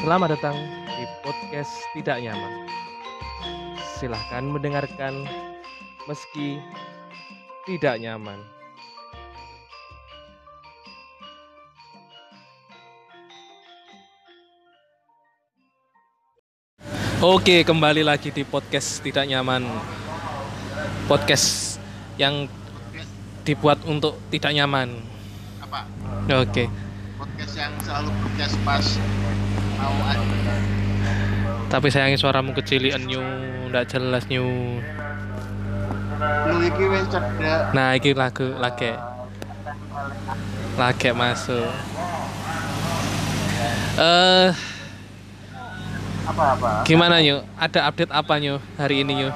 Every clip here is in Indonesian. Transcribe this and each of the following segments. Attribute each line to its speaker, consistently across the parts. Speaker 1: Selamat datang di podcast Tidak Nyaman. Silahkan mendengarkan meski tidak nyaman. Oke, kembali lagi di podcast Tidak Nyaman. Podcast yang dibuat untuk tidak nyaman.
Speaker 2: apa
Speaker 1: Oke.
Speaker 2: podcast yang selalu podcast pas mau ada
Speaker 1: Tapi sayangnya suaramu kecilian nyu, ndak jelas nyu.
Speaker 2: lu iki wis cedak
Speaker 1: Nah, iki lagu lagi lagi masuk. Eh,
Speaker 2: apa apa
Speaker 1: gimana yuk? Ada update apa yuk hari ini yuk?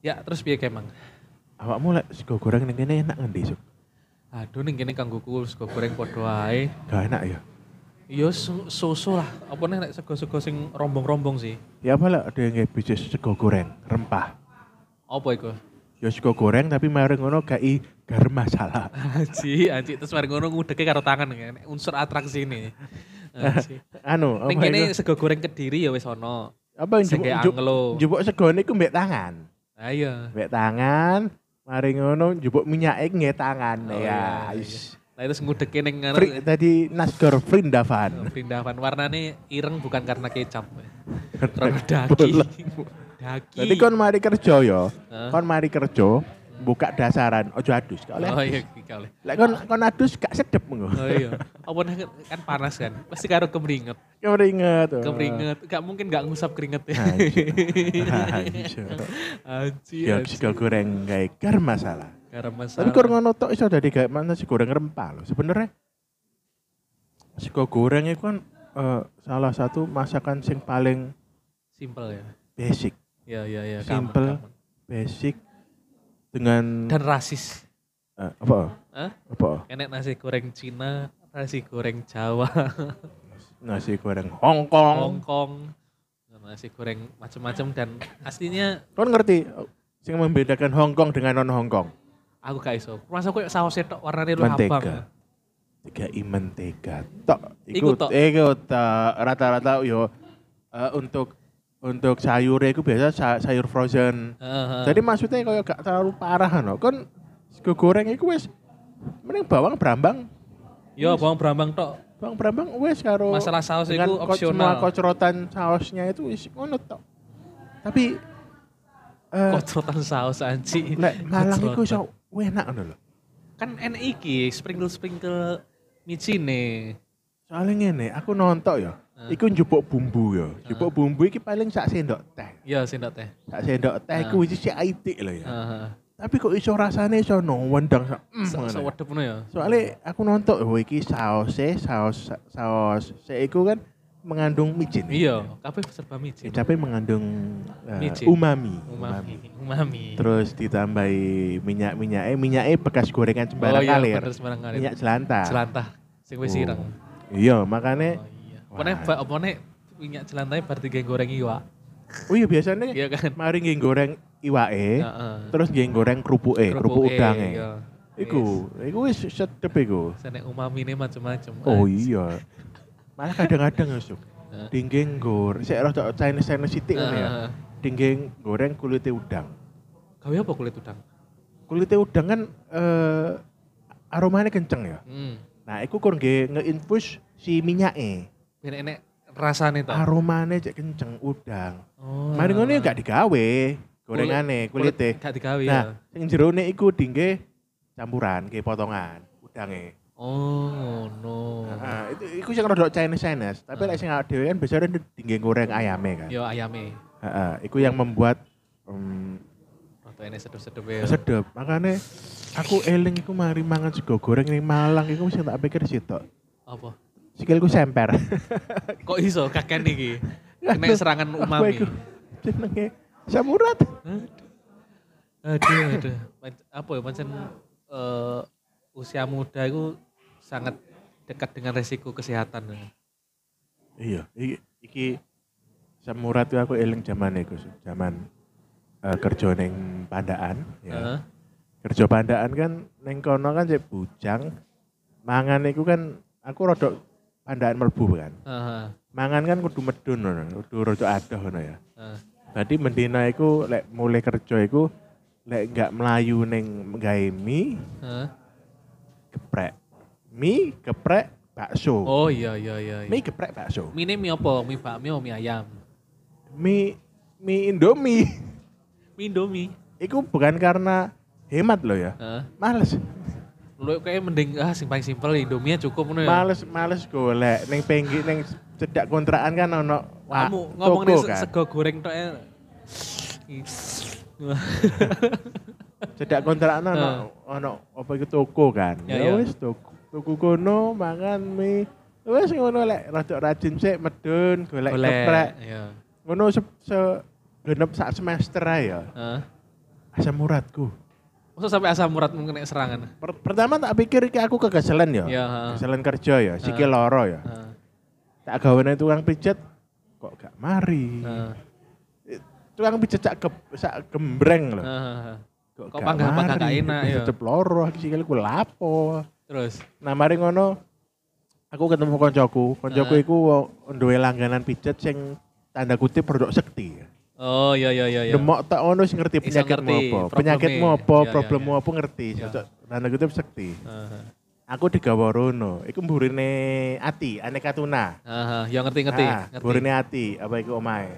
Speaker 1: Ya, terus piye Kemang?
Speaker 3: Awakmu lek sego goreng ning kene enak ngendi, Suk?
Speaker 1: Aduh, ning kene kanggo kul sego goreng padha ae.
Speaker 3: Gak enak ya.
Speaker 1: Yo susu lah. Apa nih nek sego-sego sing rombong-rombong sih?
Speaker 3: Ya apa lek ada yang bisnis sego goreng rempah.
Speaker 1: Apa iku?
Speaker 3: Ya sego goreng tapi mari ngono gak i garam masalah.
Speaker 1: Aji, aji terus mari ngono ngudeke karo tangan kan. Unsur atraksi ini. Aji.
Speaker 3: Anu,
Speaker 1: Ning
Speaker 3: apa
Speaker 1: kene
Speaker 3: ini?
Speaker 1: sego goreng Kediri ya wis ono.
Speaker 3: Apa yang
Speaker 1: Sege
Speaker 3: jupuk
Speaker 1: anglo.
Speaker 3: jupuk sego niku mbek tangan.
Speaker 1: Ayo.
Speaker 3: Mbek tangan, mari ngono jupuk minyak e nggih tangan
Speaker 1: Oh,
Speaker 3: ya.
Speaker 1: iya,
Speaker 3: is.
Speaker 1: Lah terus ngudeke ning ngono. oh,
Speaker 3: Fri, tadi Nasgor Frindavan.
Speaker 1: Pindahan warnane ireng bukan karena kecap. Karena daki.
Speaker 3: Eh, Boleh.
Speaker 1: Daki.
Speaker 3: Jadi kon mari kerja ya.
Speaker 1: Hah?
Speaker 3: Kon mari kerja buka dasaran ojo adus gak
Speaker 1: Oh
Speaker 3: oleh.
Speaker 1: iya, iya, oleh.
Speaker 3: Lek kon kon adus gak sedep ngono.
Speaker 1: Oh iya. Apa nih, kan panas kan? Pasti karo kemringet.
Speaker 3: Kemringet.
Speaker 1: Kemringet. Gak mungkin gak ngusap keringet. ya.
Speaker 3: Ya. Hancur.
Speaker 1: Aji.
Speaker 3: Ya sego goreng kayak gar masalah.
Speaker 1: Karena
Speaker 3: Tapi
Speaker 1: masalah.
Speaker 3: kur ngono tok iso dadi gak mana sego goreng rempah loh. Sebenarnya sego goreng itu kan eh, salah satu masakan sing paling
Speaker 1: Simple ya.
Speaker 3: basic,
Speaker 1: Ya ya ya. gampang,
Speaker 3: Simple.
Speaker 1: gampang.
Speaker 3: basic dengan
Speaker 1: Dan rasis.
Speaker 3: eh, apa?
Speaker 1: Hah?
Speaker 3: Apa?
Speaker 1: Enek nasi goreng Cina, nasi goreng Jawa,
Speaker 3: Nasi goreng Hong Kong.
Speaker 1: Hongkong, nasi goreng macam-macam dan aslinya
Speaker 3: Kon ngerti eh, sing membedakan Hong Kong dengan non Hong Kong?
Speaker 1: Aku gak iso. Masa koyo sausnya tok warnane lu abang.
Speaker 3: Mentega. Tiga i mentega. Tok
Speaker 1: Iku
Speaker 3: ikut
Speaker 1: kan? tok.
Speaker 3: ikut rata-rata yo eh, untuk untuk sayurnya itu biasa sa- sayur frozen.
Speaker 1: Heeh.
Speaker 3: Jadi maksudnya kalau gak terlalu parah no. Kan sego goreng itu wis mending bawang brambang.
Speaker 1: Yo bawang brambang tok.
Speaker 3: Bawang brambang wis karo
Speaker 1: Masalah saus
Speaker 3: dengan
Speaker 1: itu
Speaker 3: ko-
Speaker 1: opsional.
Speaker 3: Semua kocrotan sausnya itu wis ngono tok. Tapi eh
Speaker 1: Kocotan saus anji.
Speaker 3: lek Malang iku
Speaker 1: Kocotan.
Speaker 3: iso enak ngono lho.
Speaker 1: Kan enek iki sprinkle-sprinkle micine.
Speaker 3: Soalnya ngene, aku nonton ya.
Speaker 1: Ah.
Speaker 3: Iku njupuk bumbu ya. Njupuk bumbu iki paling sak sendok teh.
Speaker 1: Yo Iya, sing tok teh.
Speaker 3: Sak sendok teh
Speaker 1: Ah.
Speaker 3: iku wis sik aitik lho ya.
Speaker 1: Heeh.
Speaker 3: Tapi kok iso rasane iso no wendang sak mm, ngono ya.
Speaker 1: Sewedep ngono ya.
Speaker 3: Soalnya aku nonton, oh iki sausnya, saus saus seiku kan mengandung micin.
Speaker 1: Iya, kabeh serba
Speaker 3: Ya,
Speaker 1: micin.
Speaker 3: tapi mengandung eh,
Speaker 1: Micin.
Speaker 3: umami.
Speaker 1: Umami, umami.
Speaker 3: Terus ditambahi minyak-minyaknya, minyaknya bekas gorengan sembarang
Speaker 1: iya,
Speaker 3: kalir.
Speaker 1: bener sembarang kalir.
Speaker 3: ya, Minyak jelantah.
Speaker 1: Jelantah sing
Speaker 3: Ah.
Speaker 1: wis
Speaker 3: Oh.
Speaker 1: ireng.
Speaker 3: Iya, makanya
Speaker 1: Oh iya.
Speaker 3: Wah.
Speaker 1: Opone ba- opone minyak jelantahe bar tiga goreng iwak.
Speaker 3: oh iya biasanya
Speaker 1: Iya kan?
Speaker 3: mari nggih goreng iwake,
Speaker 1: Heeh.
Speaker 3: terus nggih goreng kerupuke, Eh? kerupuk ya?
Speaker 1: Kerupuke,
Speaker 3: udange.
Speaker 1: iya.
Speaker 3: Iku, iku wis sedep iku.
Speaker 1: Sene umamine macam-macam.
Speaker 3: Oh
Speaker 1: anjing.
Speaker 3: iya. Malah kadang-kadang Yusuf.
Speaker 1: Heeh.
Speaker 3: Dingging goreng, sik rada Chinese Chinese sithik ngono ya.
Speaker 1: Heeh.
Speaker 3: Dingging goreng kulite udang.
Speaker 1: Gawe apa kulit udang?
Speaker 3: Kulite udang kan eh, aromanya kenceng ya.
Speaker 1: Hmm.
Speaker 3: Nah, iku kur nggih nge-infuse si minyaknya.
Speaker 1: Ben enek rasane to.
Speaker 3: Aromanya cek kenceng udang.
Speaker 1: Oh.
Speaker 3: Ah. Mari ngono ya gak digawe gorengane kulite.
Speaker 1: Gak digawe ya.
Speaker 3: Nah, sing jerone iku dinggih campuran ke potongan udange.
Speaker 1: Oh, no.
Speaker 3: Heeh, itu iku sing rada Chinese Chinese, tapi lek sing awake dhewe kan biasanya dinggih goreng ayame kan.
Speaker 1: Yo ayame.
Speaker 3: Heeh, iku yang membuat em,
Speaker 1: Roto enek sedep-sedep ya.
Speaker 3: sedep. Makanya aku eling iku mari mangan sego goreng ning Malang iku sing tak pikir sitok.
Speaker 1: Apa?
Speaker 3: Sikilku semper.
Speaker 1: Kok iso kaken iki? Kena serangan
Speaker 3: Apa
Speaker 1: umami.
Speaker 3: iku? Jenenge samurat.
Speaker 1: Aduh, aduh. Pan- Apa ya pancen eh, usia muda itu sangat dekat dengan resiko kesehatan.
Speaker 3: Ya. Iya, iki, iki samurat itu aku eling zaman iku, Su. zaman eh, kerja ning Pandaan ya.
Speaker 1: Heeh.
Speaker 3: kerja pandaan kan neng kono kan cek bujang mangan iku kan aku rodok pandaan merbu kan
Speaker 1: Heeh.
Speaker 3: mangan kan kudu medun ngono, kudu rada adoh ngono ya.
Speaker 1: Heeh.
Speaker 3: Berarti mendina iku lek mulai kerja iku lek gak melayu ning gawe mie
Speaker 1: Heeh.
Speaker 3: geprek. Mie geprek bakso.
Speaker 1: Oh iya iya iya. iya.
Speaker 3: Mie geprek bakso.
Speaker 1: Mie ini mie apa? Mie bakmi atau mie ayam?
Speaker 3: Mie mie Indomie.
Speaker 1: Mie Indomie.
Speaker 3: Iku bukan karena hemat loh ya.
Speaker 1: Heeh.
Speaker 3: Males.
Speaker 1: Lu kayaknya mending ah sing paling simpel Indomie cukup ngono ya.
Speaker 3: Males males golek ning penggi ning cedak kontrakan kan ono wa-
Speaker 1: Kamu ngomong nih
Speaker 3: toko
Speaker 1: se-
Speaker 3: kan.
Speaker 1: sego goreng tok. eh.
Speaker 3: Cedak kontrakan ono ono apa iku toko kan.
Speaker 1: Ya,
Speaker 3: Ya
Speaker 1: ya.
Speaker 3: wis toko. Toko kono mangan mie. Wis ngono lek rada rajin sik medun golek
Speaker 1: Boleh.
Speaker 3: geprek.
Speaker 1: Iya.
Speaker 3: Ngono se, se genep sak semester ae ya.
Speaker 1: Heeh.
Speaker 3: Asam uratku.
Speaker 1: Masa sampai asam urat mungkin kena serangan.
Speaker 3: Per- pertama tak pikir iki aku kegeselan ya.
Speaker 1: Ya, ha.
Speaker 3: Kegeselan kerja ya, siki loro ya.
Speaker 1: Heeh.
Speaker 3: Tak gawane tukang pijet kok gak mari.
Speaker 1: Heeh.
Speaker 3: Tukang pijet sak ge, sak gembreng loh.
Speaker 1: Heeh. Kok
Speaker 3: gak
Speaker 1: panggah- panggah
Speaker 3: mari,
Speaker 1: gak enak,
Speaker 3: iki
Speaker 1: ya.
Speaker 3: Tetep loro iki sikil ku lapo.
Speaker 1: Terus.
Speaker 3: Nah mari ngono aku ketemu koncoku. Koncoku
Speaker 1: Ha.
Speaker 3: iku wong- duwe langganan pijet sing tanda kutip produk sekti.
Speaker 1: Oh iya iya iya. iya.
Speaker 3: Demok tak ono sing ngerti
Speaker 1: Iso
Speaker 3: penyakitmu apa,
Speaker 1: ngerti problemnya.
Speaker 3: penyakitmu apa,
Speaker 1: Ya, ya,
Speaker 3: problemmu
Speaker 1: ya.
Speaker 3: apa ngerti.
Speaker 1: Ya.
Speaker 3: Cocok tanda kutip sekti.
Speaker 1: Heeh.
Speaker 3: Aku digawa rono, iku mburine ati, aneka tuna.
Speaker 1: Heeh. Ya ngerti ngerti.
Speaker 3: Ah,
Speaker 1: ngerti.
Speaker 3: mburine ati, apa iku omae.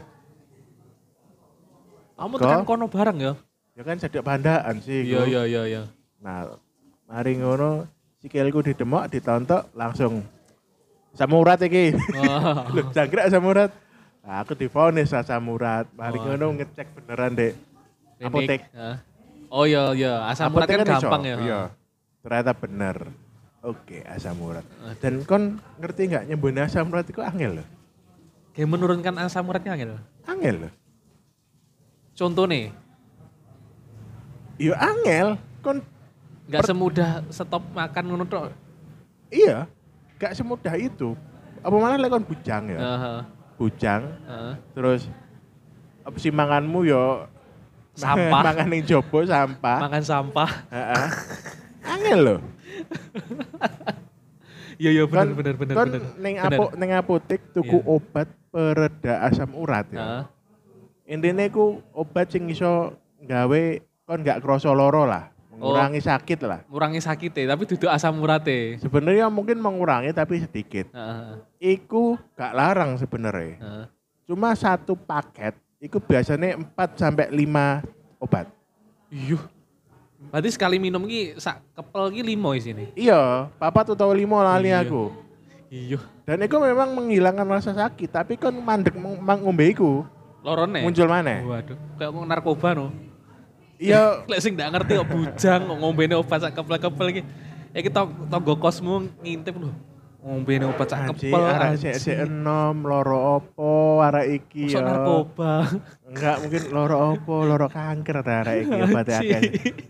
Speaker 1: Kamu
Speaker 3: Kok?
Speaker 1: tekan kono bareng ya?
Speaker 3: Ya kan sedek pandaan sih.
Speaker 1: Iya
Speaker 3: iku.
Speaker 1: iya iya iya.
Speaker 3: Nah, mari ngono, sikilku didemok, ditontok, langsung samurat iki.
Speaker 1: Oh.
Speaker 3: Loh, jangkrik samurat. Nah, aku divonis lah samurat. Mari
Speaker 1: Oh,
Speaker 3: ngono ngecek beneran, Dek.
Speaker 1: Klinik.
Speaker 3: Apotek.
Speaker 1: Heeh. Oh iya iya, asam urat kan
Speaker 3: Apotek iso.
Speaker 1: gampang ya.
Speaker 3: Iya. Ternyata bener. Oke, asam urat.
Speaker 1: Aduh.
Speaker 3: Dan kon ngerti nggak nyembuhin asam urat itu angel loh.
Speaker 1: Kayak menurunkan gitu. asam uratnya angel.
Speaker 3: Angel loh.
Speaker 1: Contoh nih,
Speaker 3: Iya angel. Kon
Speaker 1: nggak semudah stop makan ngono tok.
Speaker 3: iya, gak semudah itu. Apa malah lek kon bujang ya.
Speaker 1: Heeh.
Speaker 3: Bujang,
Speaker 1: Heeh.
Speaker 3: terus opsi manganmu yo
Speaker 1: Sampah.
Speaker 3: mangan yang jobo sampah
Speaker 1: Makan sampah.
Speaker 3: Heeh. angel loh
Speaker 1: Iya iya
Speaker 3: kan
Speaker 1: benar benar benar
Speaker 3: kan
Speaker 1: benar.
Speaker 3: neng
Speaker 1: Benar.
Speaker 3: apo- neng apotek tuku
Speaker 1: Iya.
Speaker 3: obat pereda asam urat ya
Speaker 1: Heeh.
Speaker 3: intinya ku obat sing iso gawe kon gak kroso loro lah
Speaker 1: Oh.
Speaker 3: mengurangi sakit lah
Speaker 1: Ngurangi sakite tapi duduk asam urate.
Speaker 3: sebenarnya mungkin mengurangi tapi sedikit
Speaker 1: Heeh.
Speaker 3: iku gak larang sebenarnya
Speaker 1: Heeh.
Speaker 3: cuma satu paket iku biasanya 4 sampai 5 obat
Speaker 1: Iya. Berarti sekali minum ki sak kepel ki limo isine.
Speaker 3: iya papat atau limo lali
Speaker 1: Iya.
Speaker 3: aku
Speaker 1: Iya.
Speaker 3: Dan itu memang menghilangkan rasa sakit, tapi kan mandek meng- mengombe iku
Speaker 1: Lorone.
Speaker 3: muncul mana?
Speaker 1: Waduh, kayak ngomong narkoba no.
Speaker 3: Iya,
Speaker 1: Lek sing ndak ngerti kok bujang kok ngombene obat sak kepel-kepel iki. Ya iki tong- tonggo kosmu ngintip lho. Ngombene obat sak
Speaker 3: anjing ah,
Speaker 1: kepel.
Speaker 3: arah sik sik enom, loro opo, arah iki ya.
Speaker 1: Masa narkoba.
Speaker 3: Enggak mungkin loro opo, loro kanker ada arah iki ya, kan. apa
Speaker 1: Anjing.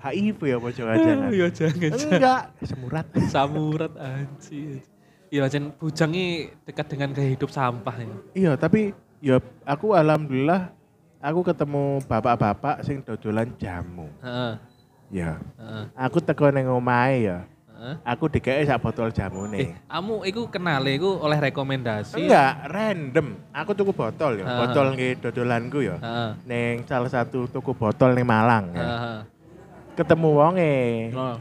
Speaker 3: HIV ya apa coba jangan.
Speaker 1: Ya jangan. jangan.
Speaker 3: Enggak, semurat.
Speaker 1: Samurat anjir. Iya, jen bujang ini dekat dengan gaya hidup sampah ya.
Speaker 3: Iya, tapi ya aku alhamdulillah aku ketemu bapak-bapak sing dodolan jamu.
Speaker 1: Heeh,
Speaker 3: Ya,
Speaker 1: heeh,
Speaker 3: aku teko ning omahe ya.
Speaker 1: heeh.
Speaker 3: Aku dikei sak botol
Speaker 1: Eh,
Speaker 3: jamune.
Speaker 1: kamu iku kenal iku oleh rekomendasi.
Speaker 3: Enggak, random. Aku tuku botol ya,
Speaker 1: Ah.
Speaker 3: botol nggih dodolanku ya.
Speaker 1: Heeh.
Speaker 3: Neng salah satu tuku botol neng Malang. ya.
Speaker 1: Heeh.
Speaker 3: Ketemu wonge,
Speaker 1: Lol.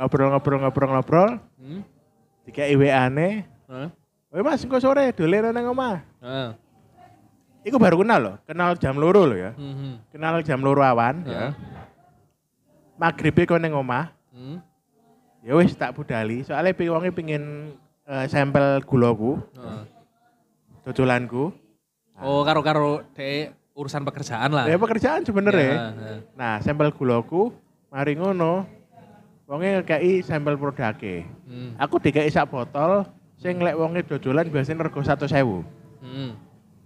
Speaker 3: ngobrol-ngobrol-ngobrol-ngobrol,
Speaker 1: Hmm?
Speaker 3: tiga IWA ne.
Speaker 1: Heeh.
Speaker 3: Woi mas, engko sore dolen neng omah.
Speaker 1: Heeh.
Speaker 3: Iku baru kenal loh, kenal jam loro loh ya.
Speaker 1: Hmm, hmm.
Speaker 3: Kenal jam loro awan ya.
Speaker 1: Heeh.
Speaker 3: Maghrib kau neng omah.
Speaker 1: Hmm.
Speaker 3: Ya wis tak budali, soalnya pi wonge pingin eh, sampel gulaku,
Speaker 1: Heeh.
Speaker 3: dodolanku.
Speaker 1: Oh, karo-karo de urusan pekerjaan lah.
Speaker 3: Ah. Ya pekerjaan sebenernya.
Speaker 1: Heeh, heeh.
Speaker 3: Nah, sampel gulaku mari ngono. Wonge ngekeki sampel produke.
Speaker 1: Hmm.
Speaker 3: Aku dikeki sak botol sing lek wonge dodolan biasanya rego 100.000.
Speaker 1: Hmm.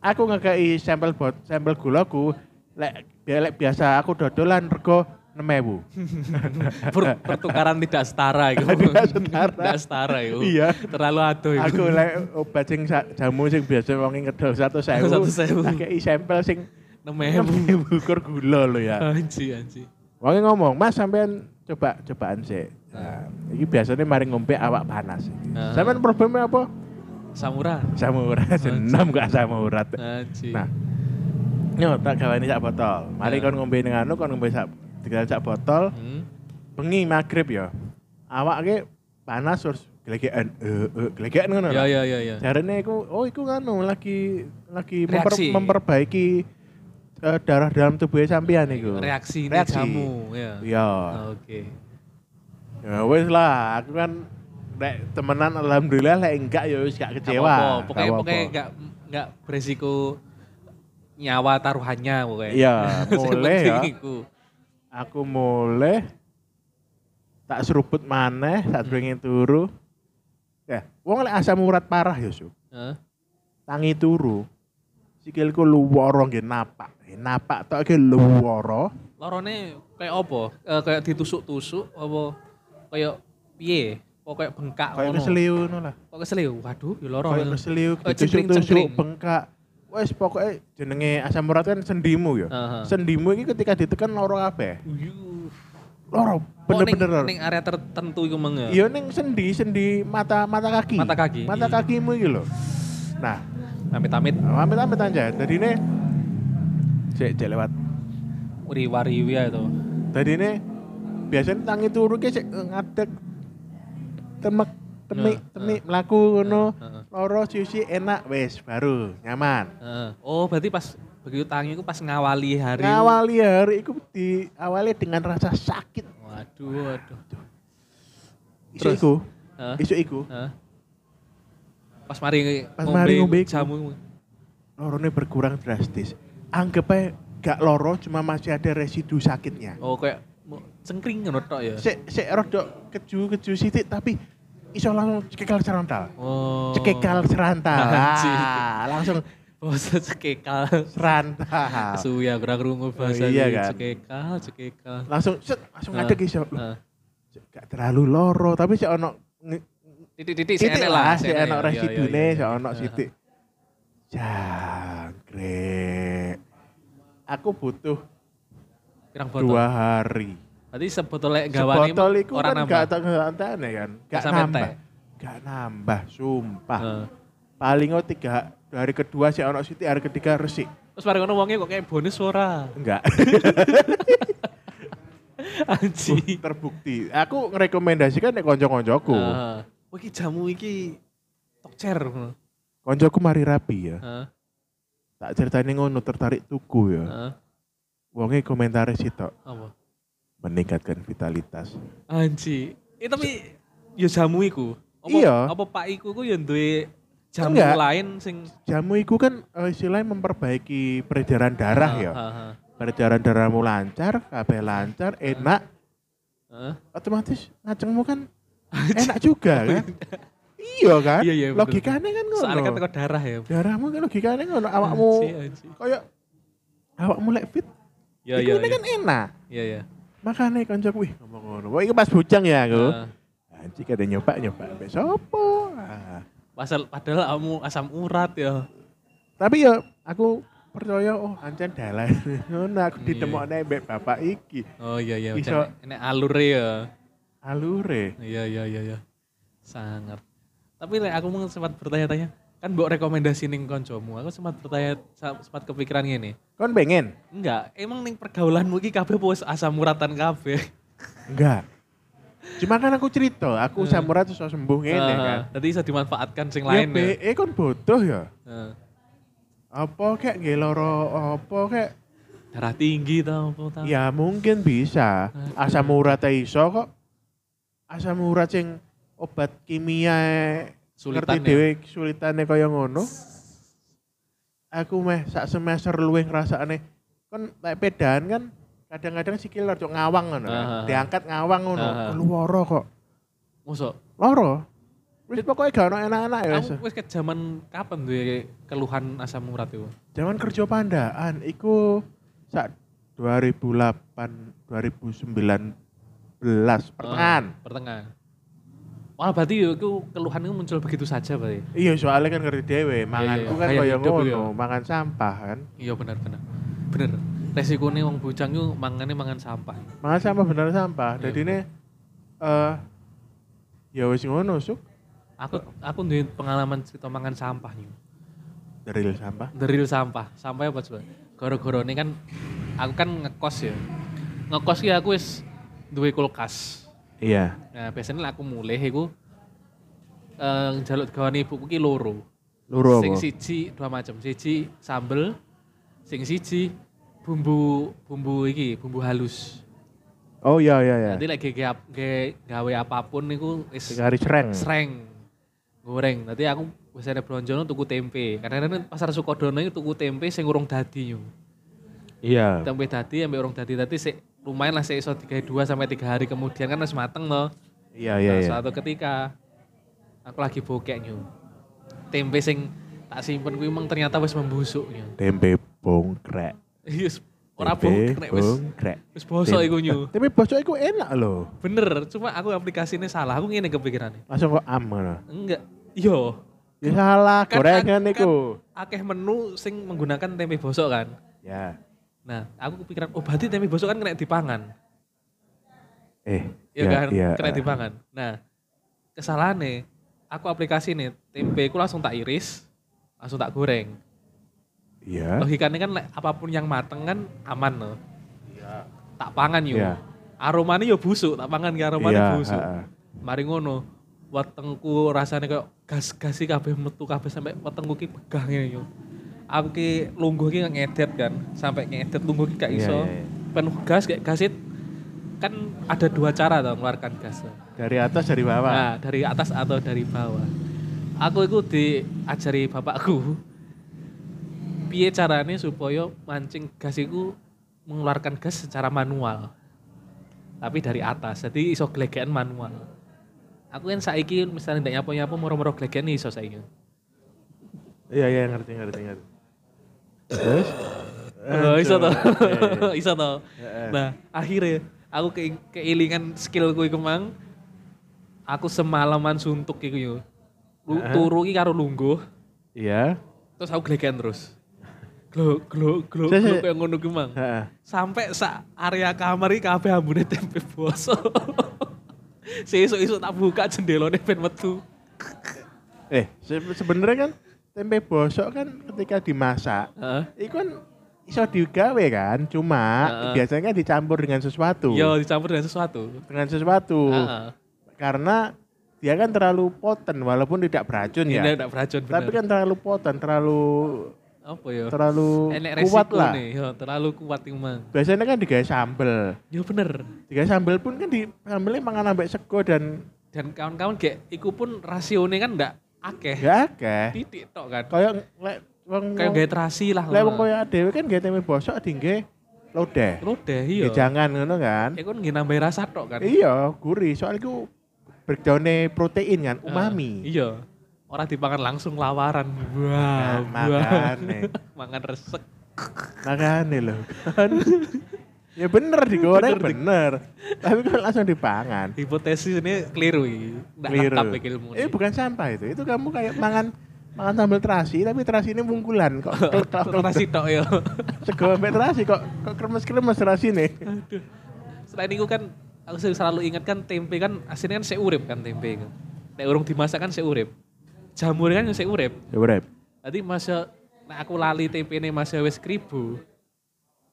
Speaker 3: Aku ngekeki sampel bot sampel gulaku lek bi- lek biasa aku dodolan rego 6.000.
Speaker 1: Per- pertukaran tidak setara itu.
Speaker 3: Tidak setara.
Speaker 1: Tidak setara itu.
Speaker 3: Iya.
Speaker 1: Terlalu aduh itu.
Speaker 3: Aku lek obat sing sa- jamu sing biasa wonge ngedol
Speaker 1: 100.000.
Speaker 3: 100.000. Tak kei sampel sing
Speaker 1: Nememu.
Speaker 3: 6.000 kur gula lho ya.
Speaker 1: Anji, anji.
Speaker 3: Wonge ngomong, "Mas sampean coba cobaan sik." Nah, iki biasanya mari ngombe awak panas.
Speaker 1: Ah. Oh,
Speaker 3: Sampean problemnya apa?
Speaker 1: Samurai.
Speaker 3: Samurat senam gak samurat.
Speaker 1: Aji.
Speaker 3: Nah. Nyo tak gawani sak botol. Mari
Speaker 1: Ya.
Speaker 3: kon ngombe ning anu kon ngombe sak digawe sak botol.
Speaker 1: Hmm.
Speaker 3: Bengi magrib ya. Awak ke panas terus gelegean eh eh gelegean ngono.
Speaker 1: Ya
Speaker 3: lho.
Speaker 1: ya ya ya.
Speaker 3: Jarene iku oh iku anu lagi lagi memper-
Speaker 1: Reaksi.
Speaker 3: memperbaiki eh, darah dalam tubuhnya sampean iku.
Speaker 1: Reaksi, ini
Speaker 3: Reaksi.
Speaker 1: jamu ya.
Speaker 3: Iya.
Speaker 1: Ah, Oke.
Speaker 3: Ya wis lah, aku kan nek temenan alhamdulillah lek enggak ya wis gak
Speaker 1: Nggak
Speaker 3: kecewa.
Speaker 1: apa-apa.
Speaker 3: Gak
Speaker 1: Pokoknya
Speaker 3: apa-apa.
Speaker 1: pokoknya enggak enggak beresiko nyawa taruhannya pokoknya.
Speaker 3: Iya,
Speaker 1: Yang
Speaker 3: mulai ya.
Speaker 1: penting iku.
Speaker 3: Aku mulai tak seruput maneh,
Speaker 1: Hmm.
Speaker 3: tak pengen turu. Ya, wong lek asam urat parah ya, Su.
Speaker 1: Hah?
Speaker 3: Tangi turu. Sikilku luworo nggih napak. Nggih Napak tok iki luworo.
Speaker 1: Lorone kayak apa? Eh, kayak ditusuk-tusuk apa kayak piye? Kok kayak bengkak
Speaker 3: Kayak keseliu ngono lah.
Speaker 1: Kok kesel ya? Waduh, ya loro.
Speaker 3: Kayak keseliu,
Speaker 1: Oh, cengkring-cengkring.
Speaker 3: ditusuk-tusuk bengkak. Wes pokoknya jenenge asam urat kan sendimu ya.
Speaker 1: Aha.
Speaker 3: Sendimu ini ketika ditekan loro kabeh.
Speaker 1: Uyuh.
Speaker 3: Loro
Speaker 1: Oh, ning-
Speaker 3: bener-bener. loro.
Speaker 1: ning area tertentu iku mengge.
Speaker 3: Iya ning sendi sendi mata mata kaki.
Speaker 1: Mata kaki,
Speaker 3: Mata
Speaker 1: iya.
Speaker 3: kakimu iki lho. Nah,
Speaker 1: Amit-amit
Speaker 3: amit-amit aja. Jadi ini cek cek lewat.
Speaker 1: uriwariwi ya itu.
Speaker 3: Jadi ini biasanya tangi turu ki cek eh, ngadeg temek temik
Speaker 1: Nah,
Speaker 3: temik melaku ngono.
Speaker 1: Heeh.
Speaker 3: Loro siusi enak wes baru nyaman.
Speaker 1: Heeh. Oh, berarti pas begitu tangi iku pas ngawali hari.
Speaker 3: Ngawali hari itu diawali dengan rasa sakit.
Speaker 1: Waduh, waduh.
Speaker 3: Isu
Speaker 1: Terus?
Speaker 3: iku,
Speaker 1: Heeh.
Speaker 3: isu iku.
Speaker 1: Heeh. Pas mari
Speaker 3: Pas mari ngombe iku.
Speaker 1: jamu.
Speaker 3: Lorone berkurang drastis. Anggap aja gak loro cuma masih ada residu sakitnya.
Speaker 1: Oh, kayak mu- cengkring ngono tok ya.
Speaker 3: sik sik rodok keju-keju sithik tapi iso langsung cekekal serantal.
Speaker 1: Oh.
Speaker 3: Cekekal serantal.
Speaker 1: Anjing.
Speaker 3: Ah, langsung
Speaker 1: Bahasa Oh, cekekal.
Speaker 3: serantal.
Speaker 1: Suwi ya kurang rungu bahasa
Speaker 3: Oh, iya
Speaker 1: iki.
Speaker 3: kan?
Speaker 1: cekekal, cekekal.
Speaker 3: Langsung set langsung
Speaker 1: Ah,
Speaker 3: ngadeg iso. Loh,
Speaker 1: Heeh.
Speaker 3: sik Gak terlalu loro tapi sik ono nge-
Speaker 1: Titik-titik sik
Speaker 3: sithik
Speaker 1: enek
Speaker 3: lah,
Speaker 1: lah,
Speaker 3: sik ono
Speaker 1: enek ya. Iya, iya,
Speaker 3: residune,
Speaker 1: iya.
Speaker 3: sik ono
Speaker 1: Heeh.
Speaker 3: sithik. Jangkrik. Aku butuh
Speaker 1: Pirang botol.
Speaker 3: dua hari.
Speaker 1: Berarti sebotol lek gawane
Speaker 3: Sebotol iku
Speaker 1: ora
Speaker 3: kan gak tak ngantene kan. Gak
Speaker 1: Sampe
Speaker 3: nambah.
Speaker 1: entek.
Speaker 3: Gak nambah, sumpah.
Speaker 1: Heeh.
Speaker 3: paling oh tiga hari kedua sih ono Siti hari ketiga resik
Speaker 1: Terus mari ngono wonge kok kayak bonus ora.
Speaker 3: enggak
Speaker 1: Anji.
Speaker 3: terbukti aku ngerekomendasikan nek konco-koncoku
Speaker 1: Heeh. Wah, iki jamu iki tokcer. ngono.
Speaker 3: koncoku mari rapi ya
Speaker 1: Heeh.
Speaker 3: tak ceritanya ngono tertarik tuku ya
Speaker 1: Heeh.
Speaker 3: wonge komentare sitok
Speaker 1: Apa?
Speaker 3: meningkatkan vitalitas
Speaker 1: Anji. Eh tapi ya jamu iku. Apa,
Speaker 3: Iya.
Speaker 1: Apa Pak iku ku ya duwe jamu
Speaker 3: Enggak.
Speaker 1: lain sing
Speaker 3: jamu iku kan eh, istilahnya memperbaiki peredaran darah ya
Speaker 1: Heeh, heeh.
Speaker 3: peredaran darahmu lancar kabeh lancar enak
Speaker 1: Heeh.
Speaker 3: otomatis ngacengmu kan enak juga kan iya kan
Speaker 1: Oh, Iya, iya, bener.
Speaker 3: logikanya kan ngono
Speaker 1: Soalnya kan teko darah ya.
Speaker 3: darahmu kan logikanya ngono awakmu
Speaker 1: Anji, anji.
Speaker 3: kayak awakmu lek fit
Speaker 1: Ya
Speaker 3: iku
Speaker 1: ya.
Speaker 3: ini
Speaker 1: ya.
Speaker 3: kan enak
Speaker 1: Iya ya.
Speaker 3: makanya konco kuwi ngomong ngono wah iku pas bujang ya aku
Speaker 1: Heeh.
Speaker 3: anjir kada nyoba nyoba sampai sopo Ah.
Speaker 1: Pasal padahal kamu asam urat ya.
Speaker 3: tapi ya aku percaya oh ancen dalan ngono aku
Speaker 1: Hmm, iya.
Speaker 3: ditemokne mbek bapak iki
Speaker 1: Oh iya iya.
Speaker 3: Bisa.
Speaker 1: Bisa. Enek alure ya.
Speaker 3: alure
Speaker 1: Iya iya iya iya. Sangat. Tapi Lek, aku mau sempat bertanya-tanya, kan mbok rekomendasi ning koncomu. Aku sempat bertanya sa- sempat kepikiran ngene.
Speaker 3: kon pengen
Speaker 1: Enggak, emang ning pergaulanmu iki kabeh apa wis asam uratan kabeh.
Speaker 3: enggak cuma kan aku cerita
Speaker 1: Hmm.
Speaker 3: aku samurai terus sembuh ngene kan
Speaker 1: Tadi bisa Ah, dimanfaatkan sing
Speaker 3: ya
Speaker 1: lain. ya. Ah.
Speaker 3: be eh kon butuh ya
Speaker 1: Heeh.
Speaker 3: apa kek nggih loro apa kek
Speaker 1: Darah tinggi tau apa tau.
Speaker 3: Ya mungkin bisa. Asam urat ae iso kok. Asam urat sing obat kimia e, ngerti
Speaker 1: Sulitan ya?
Speaker 3: dhewe sulitane kaya ngono. Aku meh sak semester luwih ngrasakne kan lek pedaan kan kadang-kadang sikil rada ngawang ngono. kan.
Speaker 1: Aha.
Speaker 3: Diangkat ngawang ngono,
Speaker 1: Aha.
Speaker 3: loro kok.
Speaker 1: Mosok.
Speaker 3: Loro. Wis pokoknya gak ono enak-enak ya. wis.
Speaker 1: Kamu wis ke zaman kapan duwe keluhan asam urat itu?
Speaker 3: Zaman kerja pandaan iku sak 2008 2019 pertengahan.
Speaker 1: Oh, pertengahan. Wah, berarti yo iku keluhan itu muncul begitu saja berarti.
Speaker 3: Iya soalnya kan ngerti dewe,
Speaker 1: Ah. iya.
Speaker 3: manganku kan
Speaker 1: Gaya
Speaker 3: kaya
Speaker 1: hidup
Speaker 3: ngono,
Speaker 1: iya.
Speaker 3: mangan sampah kan.
Speaker 1: Iya benar benar. Bener. Resikone wong bujang yo mangane mangan sampah.
Speaker 3: Mangan sampah bener sampah.
Speaker 1: Iya,
Speaker 3: Jadi ini eh ya wis ngono suk.
Speaker 1: Aku aku duwe pengalaman cerita mangan sampah nih.
Speaker 3: Dari sampah.
Speaker 1: Deril sampah. Sampahnya apa coba? Gara-gara ini kan aku kan ngekos ya. Ngekos ya aku wis duwe kulkas.
Speaker 3: Iya.
Speaker 1: Nah, biasanya lah aku mulai iku eh jaluk gawane ibuku ki loro.
Speaker 3: Loro
Speaker 1: Sing
Speaker 3: apa?
Speaker 1: siji dua macam. Siji sambel, sing siji bumbu bumbu iki, bumbu halus.
Speaker 3: Oh iya iya iya.
Speaker 1: Nanti lagi gap- ge- gawe apapun niku wis
Speaker 3: Tiga hari sereng.
Speaker 1: sereng goreng. Nanti aku biasanya belanja tuku tempe. Kadang-kadang pasar Sukodono itu tuku tempe sing urung dadi yo.
Speaker 3: Iya.
Speaker 1: tempe dadi sampai urung dadi tadi sik lumayan lah sik iso tiga dua sampai tiga hari kemudian kan harus mateng loh
Speaker 3: Iya iya iya.
Speaker 1: suatu ketika aku lagi bokek nyu tempe sing tak simpen kuwi emang ternyata wis membusuk nyu
Speaker 3: Tempe bongkrek.
Speaker 1: yes Iya, ora
Speaker 3: Tempe
Speaker 1: bokek nek wis
Speaker 3: bongkrek.
Speaker 1: wis bosok
Speaker 3: Tem-
Speaker 1: iku nyu
Speaker 3: Tempe Eh, bosok iku enak loh.
Speaker 1: bener cuma aku aplikasinya salah aku ngene kepikirannya
Speaker 3: Langsung kok am ngono.
Speaker 1: enggak yo
Speaker 3: Ya salah,
Speaker 1: Kan-
Speaker 3: gorengan
Speaker 1: kan-
Speaker 3: iku.
Speaker 1: akeh menu sing menggunakan tempe bosok kan
Speaker 3: Ya.
Speaker 1: nah aku kepikiran oh berarti tempe bosok kan kena dipangan
Speaker 3: Eh.
Speaker 1: ya, kan
Speaker 3: iya,
Speaker 1: kena
Speaker 3: eh.
Speaker 1: dipangan. Nah, kesalahannya aku aplikasi nih tempe ku langsung tak iris, langsung tak goreng.
Speaker 3: Iya.
Speaker 1: Logikanya kan lek apapun yang mateng kan aman loh. Tak pangan yuk.
Speaker 3: Iya.
Speaker 1: Aromanya yo busuk, tak pangan ya aromanya
Speaker 3: Iya,
Speaker 1: busuk.
Speaker 3: heeh.
Speaker 1: Mari ngono. Wetengku rasanya kayak gas-gasi kabeh metu kabeh sampai wetengku ki pegang ini yuk. Aku ki lungguh ki ngedet kan, sampai ngedet lungguh ki gak
Speaker 3: Iya,
Speaker 1: iso.
Speaker 3: iya, iya.
Speaker 1: Penuh gas kayak gasit kan ada dua cara tau ngeluarkan gas. Tuh.
Speaker 3: Dari atas dari bawah.
Speaker 1: Nah, dari atas atau dari bawah. Aku itu diajari bapakku piye carane supaya mancing gas iku mengeluarkan gas secara manual. Tapi dari atas, jadi iso glegekan manual. Aku kan saiki misalnya ndak nyapu-nyapu moro-moro glegekan iso saiki.
Speaker 3: Iya iya ngerti ngerti ngerti. Terus?
Speaker 1: Oh, iso to.
Speaker 3: Iya, iya.
Speaker 1: iso to.
Speaker 3: Heeh.
Speaker 1: Nah, akhirnya aku ke keilingan skillku iku mang aku semalaman suntuk iku yo. Lu turu iki karo lungguh.
Speaker 3: Iya.
Speaker 1: terus aku gelekan terus gluk gluk gluk
Speaker 3: Saya-
Speaker 1: gluk
Speaker 3: saya-
Speaker 1: kayak ngono ki mang
Speaker 3: Heeh.
Speaker 1: sampai sa area kamar iki kabeh ambune tempe bosok Sesuk-esuk tak buka jendelane ben metu.
Speaker 3: Eh, se- sebenarnya kan tempe bosok kan ketika dimasak,
Speaker 1: Heeh.
Speaker 3: itu kan iso digawe kan, cuma
Speaker 1: Heeh.
Speaker 3: biasanya kan dicampur dengan sesuatu.
Speaker 1: Yo dicampur dengan sesuatu.
Speaker 3: Dengan sesuatu.
Speaker 1: Heeh.
Speaker 3: Karena dia kan terlalu poten walaupun tidak beracun
Speaker 1: Ini
Speaker 3: ya.
Speaker 1: ndak Iya, beracun bener.
Speaker 3: Tapi kan terlalu poten, terlalu
Speaker 1: apa ya?
Speaker 3: terlalu
Speaker 1: Enek
Speaker 3: kuat
Speaker 1: resiko
Speaker 3: lah.
Speaker 1: nih, yo, terlalu kuat iki mang.
Speaker 3: Biasanya kan digawe sambel.
Speaker 1: Yo bener.
Speaker 3: Digawe sambel pun kan di sambelnya mangan ambek sego dan
Speaker 1: Dan kawan-kawan gek iku pun rasionya kan ndak akeh.
Speaker 3: gak akeh.
Speaker 1: Titik tok kan.
Speaker 3: Kayak lek wong
Speaker 1: Kayak gawe terasi lah.
Speaker 3: lek wong koyo dhewe kan gawe tempe bosok dingge lodeh.
Speaker 1: Lodeh
Speaker 3: Ya
Speaker 1: iya.
Speaker 3: jangan ngono kan.
Speaker 1: Ya kan nggih nambah rasa tok kan.
Speaker 3: Iya, gurih. Soalnya itu breakdownnya protein kan,
Speaker 1: Eh,
Speaker 3: umami.
Speaker 1: iya. Orang dipangan langsung lawaran.
Speaker 3: Nah,
Speaker 1: Wah,
Speaker 3: makane.
Speaker 1: Mangan resek.
Speaker 3: Makanya loh. kan. ya bener digoreng
Speaker 1: Bener,
Speaker 3: bener. Tapi kan langsung dipangan.
Speaker 1: Hipotesis ini keliru iki. Nggak
Speaker 3: Keliru.
Speaker 1: lengkap iki ilmu.
Speaker 3: Eh bukan sampah itu. Itu kamu kayak mangan mangan sambal terasi, tapi terasi ini bungkulan kok. Kok- kok- kok-
Speaker 1: Terasi tok ya.
Speaker 3: Sego sampai terasi kok kok kremes-kremes terasi nih.
Speaker 1: Selain itu kan aku sering selalu ingat kan tempe kan aslinya kan seurip kan tempe kan. Nek urung dimasak kan seurip. Jamur kan yo seurip.
Speaker 3: Ya bener.
Speaker 1: Tadi masa nek aku lali tempe ini masih wis kribu.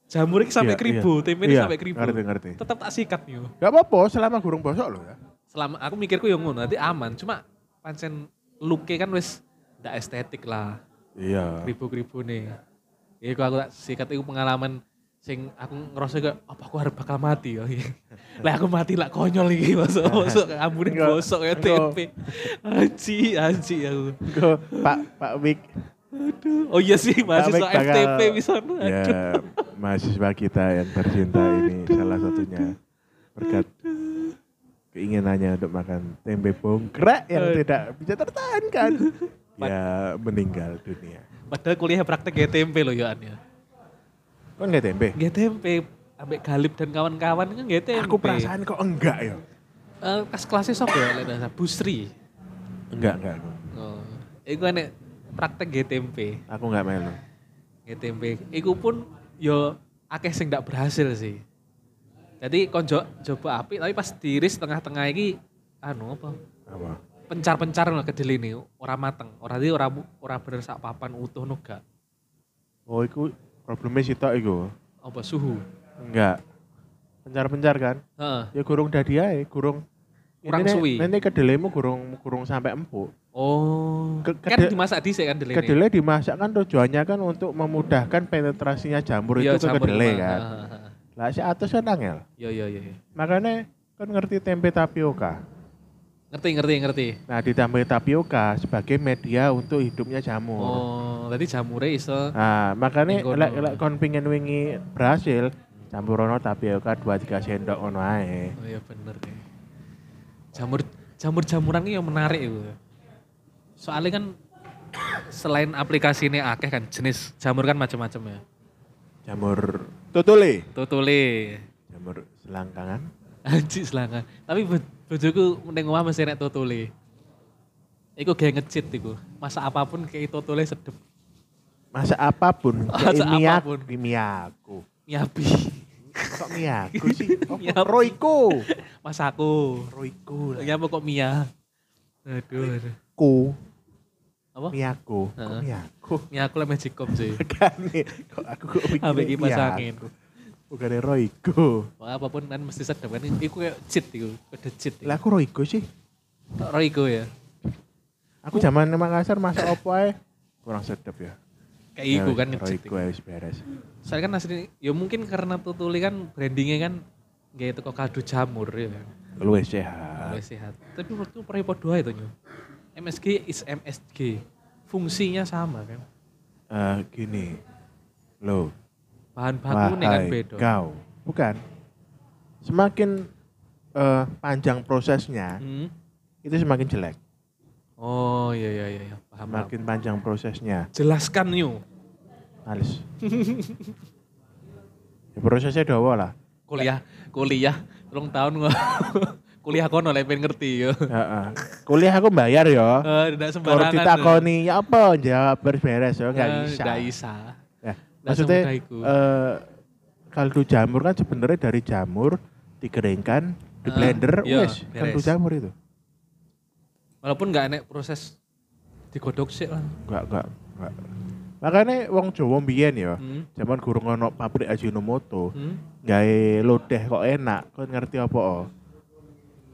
Speaker 1: Jamur ini sampai
Speaker 3: Iya,
Speaker 1: kribu,
Speaker 3: iya.
Speaker 1: tempe ini
Speaker 3: Iya,
Speaker 1: sampai kribu.
Speaker 3: ngerti, ngerti.
Speaker 1: Tetap tak sikat yo.
Speaker 3: Gak apa-apa selama gurung bosok loh ya.
Speaker 1: selama aku mikirku yang ngono nanti aman cuma pancen luke kan wis ndak estetik lah
Speaker 3: Iya.
Speaker 1: kribu-kribu nih ya aku, aku tak sikat itu pengalaman sing aku ngerasa kayak apa aku harus bakal mati ya lah aku mati lah konyol iki masuk masuk ambune
Speaker 3: Enggak,
Speaker 1: bosok ya
Speaker 3: enggak.
Speaker 1: tempe anji anji aku
Speaker 3: Pak Pak Wik
Speaker 1: aduh oh iya sih
Speaker 3: Pak
Speaker 1: mahasiswa
Speaker 3: Wik bakal-
Speaker 1: FTP bisa
Speaker 3: Ya, mahasiswa kita yang tercinta ini salah satunya berkat keinginannya untuk makan tempe bongkrek yang tidak bisa tertahankan. Ya, meninggal dunia.
Speaker 1: padahal kuliah praktek ya tempe loh Yohan ya
Speaker 3: Kok enggak tempe?
Speaker 1: Nggak tempe ambek Galip dan kawan-kawan kan nggak tempe
Speaker 3: Aku perasaan kok enggak ya.
Speaker 1: Eh, kelas kelasnya sop ya lek nggak salah. Busri
Speaker 3: Enggak, enggak. aku.
Speaker 1: Oh, iku enek praktek GTMP,
Speaker 3: Aku enggak melu.
Speaker 1: GTMP. Iku pun yo akeh sing ndak berhasil sih. Jadi konjo coba api tapi pas tiris tengah-tengah iki anu apa?
Speaker 3: Apa?
Speaker 1: pencar-pencar lah kedele ini orang mateng orang dia orang orang bener sak papan utuh no gak
Speaker 3: Oh, itu problemnya sih tak itu.
Speaker 1: apa suhu
Speaker 3: Enggak. Pencar-pencar kan?
Speaker 1: Heeh.
Speaker 3: Ya gurung dadi ae, gurung
Speaker 1: Kurang
Speaker 3: Ini-
Speaker 1: suwi.
Speaker 3: Ini kedelemu gurung gurung sampai empuk.
Speaker 1: oh
Speaker 3: Ke-
Speaker 1: kan
Speaker 3: kede-
Speaker 1: dimasak dhisik kan kedele ini
Speaker 3: Kedelai dimasak kan tujuannya kan untuk memudahkan penetrasinya jamur
Speaker 1: Iya,
Speaker 3: itu ke
Speaker 1: campur
Speaker 3: kedelai
Speaker 1: sama-
Speaker 3: kan.
Speaker 1: heeh, heeh.
Speaker 3: Lah si atus kan angel.
Speaker 1: iya iya iya
Speaker 3: Makanya kan ngerti tempe tapioka.
Speaker 1: ngerti ngerti ngerti
Speaker 3: Nah, ditambah tapioka sebagai media untuk hidupnya jamur.
Speaker 1: oh tadi jamure iso
Speaker 3: Nah, makanya
Speaker 1: Ning kono.
Speaker 3: lek lek kon pingin wingi berhasil campur ono tapioka 2 3 sendok ono ae.
Speaker 1: oh iya bener deh jamur jamur jamuran ini yang menarik itu soalnya kan selain aplikasi ini akeh kan jenis jamur kan macam-macam ya
Speaker 3: Jamur tutule,
Speaker 1: totole
Speaker 3: jamur selangkangan.
Speaker 1: Anjir selangkah. Tapi bo- bojoku ning omah mesti enek totole. Iku gawe ngecit iku. Masak apapun kayak totole sedep.
Speaker 3: Masa apapun,
Speaker 1: Masak
Speaker 3: kayak mie aku,
Speaker 1: apapun.
Speaker 3: mie aku.
Speaker 1: Nyabi.
Speaker 3: Kok mie aku sih? Apa?
Speaker 1: Mie aku.
Speaker 3: Royko.
Speaker 1: Masakku.
Speaker 3: Royko lah.
Speaker 1: Nyapa kok Mia. Aduh, aduh.
Speaker 3: Ku.
Speaker 1: Apa?
Speaker 3: Mie aku. Kok
Speaker 1: Heeh.
Speaker 3: mie aku?
Speaker 1: Mia aku lah magicom sih.
Speaker 3: Bukannya, kok aku kok mikirnya
Speaker 1: Ambek kipas
Speaker 3: mie
Speaker 1: angin.
Speaker 3: aku. Bukannya Royko.
Speaker 1: Wah, apapun kan mesti sedep kan. Iku kayak cheat iku. Kode cheat.
Speaker 3: Lah aku Royko sih.
Speaker 1: Roigo ya.
Speaker 3: Aku zaman di Makassar masak opo ae kurang sedep ya.
Speaker 1: Kayak iku kan ngecit.
Speaker 3: Royko wis beres.
Speaker 1: Soalnya kan asli, ya mungkin karena totole kan brandingnya kan kayak toko kaldu jamur ya.
Speaker 3: Luwes sehat.
Speaker 1: Oleh sehat. Tapi menurutku perih podo itu nyu. MSG is MSG. Fungsinya sama kan.
Speaker 3: Eh gini. Loh,
Speaker 1: Bahan bakunya kan
Speaker 3: Wahai
Speaker 1: beda.
Speaker 3: Kau, bukan. Semakin eh, panjang prosesnya,
Speaker 1: Hmm.
Speaker 3: itu semakin jelek.
Speaker 1: Oh iya iya iya, iya paham. paham.
Speaker 3: Semakin panjang prosesnya,
Speaker 1: Jelaskan nyu.
Speaker 3: males. ya, prosesnya dawa lah.
Speaker 1: Kuliah kuliah rong tahun gua. kuliah kono lek pengen ngerti yo.
Speaker 3: Heeh. Kuliah aku bayar ya.
Speaker 1: Eh tidak
Speaker 3: Kalau
Speaker 1: sembarangan.
Speaker 3: ditakoni, ya apa? Jawab beres-beres ya, nggak
Speaker 1: Eh,
Speaker 3: bisa.
Speaker 1: nggak bisa.
Speaker 3: Ya,
Speaker 1: Nggak
Speaker 3: maksudnya
Speaker 1: semudah itu.
Speaker 3: eh, kaldu jamur kan sebenarnya dari jamur dikeringkan, di
Speaker 1: Eh,
Speaker 3: blender,
Speaker 1: iya,
Speaker 3: wes kaldu
Speaker 1: beres.
Speaker 3: jamur itu.
Speaker 1: Walaupun nggak enek proses digodok sih lah.
Speaker 3: Enggak, enggak, enggak. Makanya wong Jawa mbiyen ya,
Speaker 1: Hmm.
Speaker 3: zaman gurung ono pabrik Ajinomoto,
Speaker 1: Hmm.
Speaker 3: gawe lodeh kok enak, kok ngerti apa o?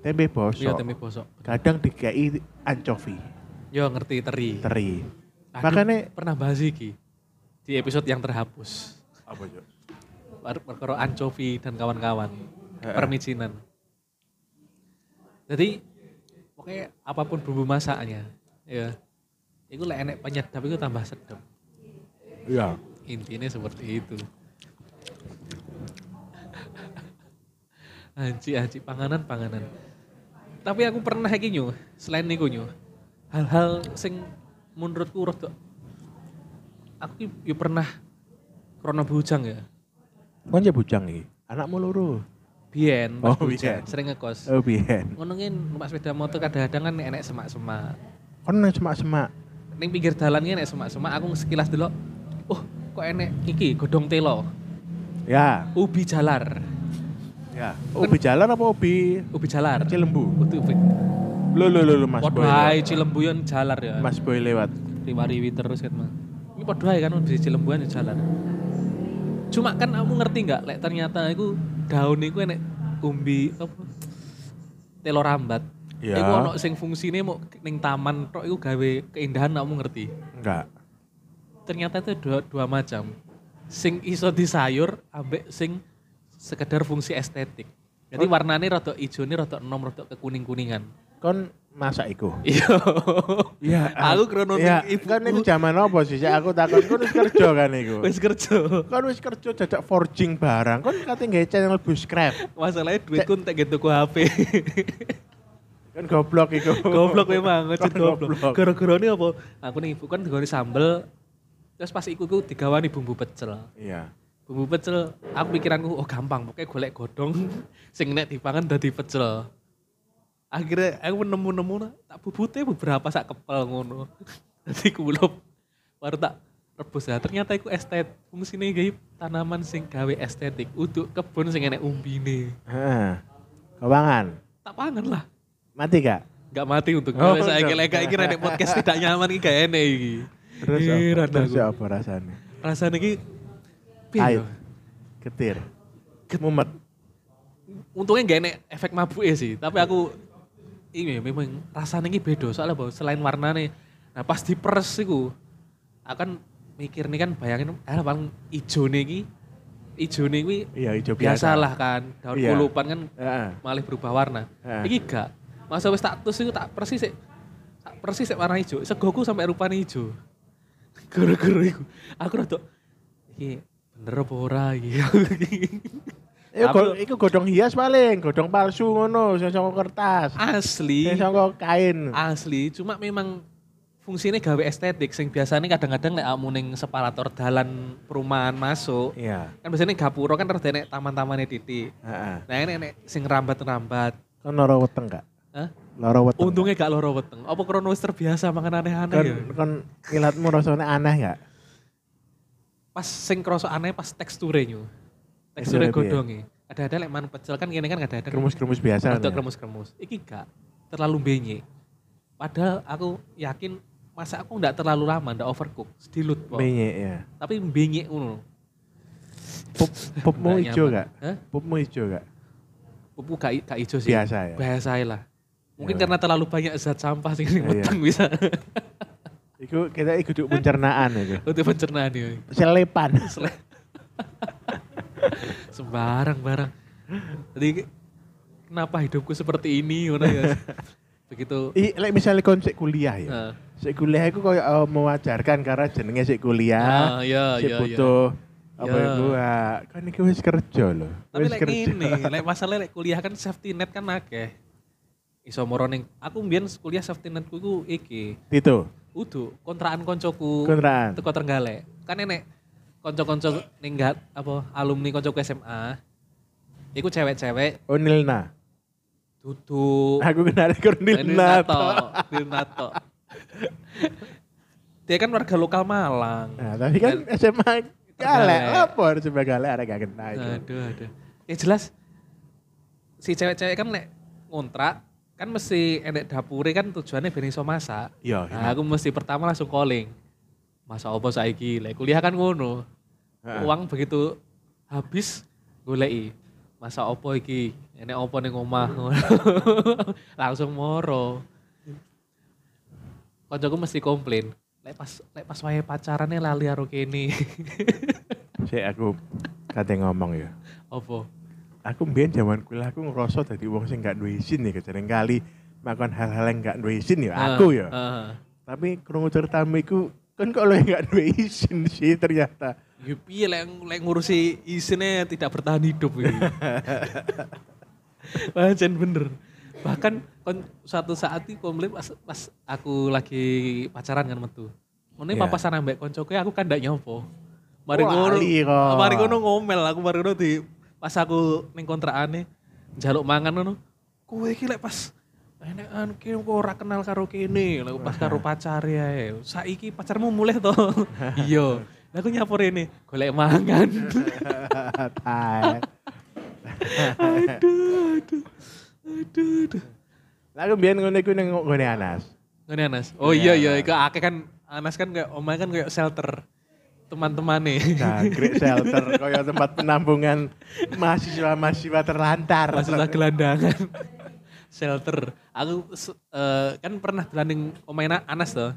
Speaker 3: Tempe
Speaker 1: Iya
Speaker 3: bosok.
Speaker 1: tempe bosok.
Speaker 3: Kadang dikai ancovi,
Speaker 1: Yo ngerti teri.
Speaker 3: teri.
Speaker 1: Aduh,
Speaker 3: Makanya
Speaker 1: pernah bahas iki di episode yang terhapus.
Speaker 3: apa yo?
Speaker 1: Per- perkara ancovi dan kawan-kawan
Speaker 3: Heeh.
Speaker 1: permicinan jadi pokoknya apapun bumbu masaknya ya itu lah enek penyedap itu tambah sedap
Speaker 3: Iya.
Speaker 1: intinya seperti itu anci anci panganan panganan tapi aku pernah iki nyu selain niku nyu hal-hal sing menurutku rodok aku ki- yo pernah krono bujang ya
Speaker 3: Kon ya bujang iki. Anakmu loro.
Speaker 1: Bien,
Speaker 3: Oh,
Speaker 1: pas
Speaker 3: biyen.
Speaker 1: hujan, sering ngekos.
Speaker 3: Oh biyen.
Speaker 1: Ngono ki numpak sepeda motor kadang-kadang kan enek semak-semak.
Speaker 3: Kon nang semak-semak.
Speaker 1: Ning pinggir dalan ki enek semak-semak, aku sekilas delok, "Oh, kok enek iki godhong telo,
Speaker 3: Ya,
Speaker 1: ubi jalar,
Speaker 3: ya. Ubi jalan apa ubi
Speaker 1: ubi jalar."
Speaker 3: Cilembu?
Speaker 1: Ubi ubi.
Speaker 3: Lo lo lo lo Mas
Speaker 1: Podho
Speaker 3: Boy.
Speaker 1: ae cilembuyan jalar ya.
Speaker 3: Mas Boy lewat.
Speaker 1: Riwariwi terus kan, Mas. Ini podho ae kan di cilembuyan ya jalar. Cuma kan kamu ngerti nggak, lek ternyata iku daun iku enek umbi apa? Telo rambat.
Speaker 3: Iya.
Speaker 1: Iku ono sing fungsine mau ning taman tok iku gawe keindahan kamu ngerti.
Speaker 3: Enggak.
Speaker 1: Ternyata itu dua, dua macam. Sing iso disayur ambek sing sekedar fungsi estetik.
Speaker 3: Oh.
Speaker 1: Jadi warnanya rada ijo ini rada enom rada kekuning-kuningan.
Speaker 3: Kon masak iku.
Speaker 1: Iya.
Speaker 3: Iya,
Speaker 1: Aku krono
Speaker 3: Iya,
Speaker 1: ning ibuku.
Speaker 3: kan itu zaman apa sih? Cak? Aku takon kan wis kerja kan iku.
Speaker 1: Wis kerja.
Speaker 3: Kan wis kerja dadak forging barang. Kan kate nggawe channel Bushcraft.
Speaker 1: Masalahnya duitku entek gitu ku HP.
Speaker 3: Kan goblok iku.
Speaker 1: goblok memang, ngecet
Speaker 3: Kan
Speaker 1: goblok. Gara-gara ini apa? Aku nih ibu kan digawani sambel. Terus pas iku ku digawani bumbu pecel.
Speaker 3: Iya.
Speaker 1: bumbu pecel aku pikiranku oh gampang pokoknya golek godong sing nek dipangan dadi pecel akhirnya aku nemu-nemu nah, tak bubute beberapa sak kepel ngono dadi kulup baru tak rebus ya ternyata iku estet fungsine gawe tanaman sing gawe estetik untuk kebun sing enek umbine
Speaker 3: Heeh. Kewangan.
Speaker 1: tak pangan lah
Speaker 3: Mati gak?
Speaker 1: Gak mati untuk
Speaker 3: Oh,
Speaker 1: oh,
Speaker 3: iya.
Speaker 1: saya kira kayak kira podcast tidak nyaman iki gak enak iki.
Speaker 3: Terus apa,
Speaker 1: Heran
Speaker 3: terus
Speaker 1: aku.
Speaker 3: apa rasanya?
Speaker 1: Rasanya iki piye
Speaker 3: Air,
Speaker 1: ya?
Speaker 3: getir, mumet.
Speaker 1: Untungnya gak enak efek mabuk sih, tapi aku ini memang rasanya iki beda soalnya bahwa selain warnanya nah pas diperes iku akan mikir nih kan bayangin ah paling ijo nih iki ijo nih iki
Speaker 3: Iya, hijau biasa.
Speaker 1: biasalah kan daun
Speaker 3: Iya.
Speaker 1: kulupan kan
Speaker 3: Heeh.
Speaker 1: malah berubah warna.
Speaker 3: Heeh.
Speaker 1: Iki gak. Masa wis tak tus iku tak persis sik tak persis sik warna ijo. Segoku sampai rupane ijo. Gara-gara iku. Aku rada iki bener apa ora iki.
Speaker 3: Iku,
Speaker 1: Tapi-
Speaker 3: Iya, go- iku godong hias paling, godong palsu ngono, sing saka kertas,
Speaker 1: Ah, Asli.
Speaker 3: sing saka kain.
Speaker 1: Asli, cuma memang fungsinya gawe estetik sing biasanya kadang-kadang lek amu ning separator dalan perumahan masuk
Speaker 3: Iya.
Speaker 1: kan biasanya gapura kan terus enek taman-tamane titik.
Speaker 3: Heeh.
Speaker 1: Nah ini enek sing rambat-rambat.
Speaker 3: Kan loro weteng gak?
Speaker 1: Hah?
Speaker 3: Loro weteng.
Speaker 1: Untungnya gak loro weteng. Apa krono wis terbiasa makan aneh-aneh
Speaker 3: kan
Speaker 1: ya?
Speaker 3: kan kilatmu rasanya aneh gak?
Speaker 1: pas sing kroso aneh pas teksture nyu.
Speaker 3: Teksture
Speaker 1: Teksture
Speaker 3: piye?
Speaker 1: godhonge. Ada-ada lek manuk pecel kan kene kan ada-ada.
Speaker 3: Kremus-kremus biasa.
Speaker 1: Untuk
Speaker 3: kan ya?
Speaker 1: kremus-kremus. Iki gak terlalu benye. Padahal aku yakin masa aku ndak terlalu lama ndak overcook, dilut po.
Speaker 3: Minyak ya.
Speaker 1: Tapi benye ngono.
Speaker 3: Pup, pupmu
Speaker 1: Ndak
Speaker 3: ijo
Speaker 1: nyaman.
Speaker 3: gak?
Speaker 1: Hah?
Speaker 3: Pupmu ijo gak?
Speaker 1: Pupu gak, i- gak ijo sih.
Speaker 3: Biasa ya.
Speaker 1: Biasa ae lah. Mungkin
Speaker 3: Iya.
Speaker 1: karena terlalu banyak zat sampah sing
Speaker 3: Iya.
Speaker 1: weteng bisa
Speaker 3: Iku kita iku duduk pencernaan itu.
Speaker 1: untuk pencernaan yo.
Speaker 3: Selepan.
Speaker 1: Sele- sembarang barang jadi kenapa hidupku seperti ini ngono ya begitu
Speaker 3: I, like misalnya kon sik kuliah ya.
Speaker 1: eh,
Speaker 3: Sik kuliah iku koyo eh, mewajarkan karena jenenge sik kuliah.
Speaker 1: Ah, iya,
Speaker 3: sik
Speaker 1: iya,
Speaker 3: butuh apa
Speaker 1: Iya.
Speaker 3: ya gua. Kan iki wis kerja loh.
Speaker 1: Nah, tapi
Speaker 3: Wis
Speaker 1: lek
Speaker 3: kerja.
Speaker 1: ini lek masalah lek kuliah kan safety net kan akeh iso moroning aku mbiyen kuliah safety netku iku iki
Speaker 3: Itu
Speaker 1: udu kontrakan koncoku
Speaker 3: kontrakan.
Speaker 1: teko Trenggalek kan enek konco-konco ning ngat- apa alumni koncoku SMA iku cewek-cewek
Speaker 3: Oh Nilna.
Speaker 1: duduk
Speaker 3: Aku kenal
Speaker 1: Eh,
Speaker 3: karo Nilna.
Speaker 1: Dirnato. Dirnato. Dia kan warga lokal Malang.
Speaker 3: Nah, tapi kan SMA galak.
Speaker 1: Galak.
Speaker 3: Apa harus SMA galak ada gak kenal itu.
Speaker 1: Aduh, aduh. Ya jelas si cewek-cewek kan nek ngontrak kan mesti enek dapure kan tujuannya ben iso masak.
Speaker 3: Iya,
Speaker 1: Nah, aku mesti pertama langsung calling. Masa opo saiki? Lek kuliah kan ngono.
Speaker 3: Heeh.
Speaker 1: Uang begitu habis goleki. Masa opo iki? Enek opo ning omah ngono. Langsung moro. Koncoku mesti komplain. Lek pas lek pas wayahe pacarane lali karo kene.
Speaker 3: Sik aku kate ngomong ya.
Speaker 1: opo?
Speaker 3: Aku mbien zaman kuliah aku ngerasa dadi wong sing gak duwe izin ya jarang kali makan hal-hal yang gak duwe izin ya
Speaker 1: Nah.
Speaker 3: aku ya.
Speaker 1: Heeh.
Speaker 3: Tapi krungu ceritamu iku kan kok lo yang gak duwe izin sih ternyata.
Speaker 1: Ya piye lek lek ngurusi isine tidak bertahan hidup iki. Pancen bener. Bahkan kon- suatu saat iki komplain pas, pas aku lagi pacaran kan metu. Ngene
Speaker 3: Iya.
Speaker 1: papasan ambek koncoku aku kan ndak nyopo. Mari
Speaker 3: Wah,
Speaker 1: ngono. Ah,
Speaker 3: ali kok.
Speaker 1: Mari ngono ngomel aku mari ngono di pas aku ning kontrakane njaluk mangan ngono. Kowe iki lek pas enekan ki kok ora kenal karo kene, lek pas karo pacar ya. Saiki pacarmu mulai to. Iya. Lah aku nyapor ini, golek mangan.
Speaker 3: Tai.
Speaker 1: aduh, aduh. Aduh, aduh.
Speaker 3: Lah aku mbien ngono iku ning nggone Anas.
Speaker 1: Ngene Anas. Oh iya iya, iku akeh kan Anas kan kayak omah kan kayak shelter e. teman-temane.
Speaker 3: Nah, great shelter kaya tempat penampungan mahasiswa-mahasiswa terlantar.
Speaker 1: Masalah gelandangan. shelter. Aku se- eh, kan pernah gelanding omahnya Anas tuh.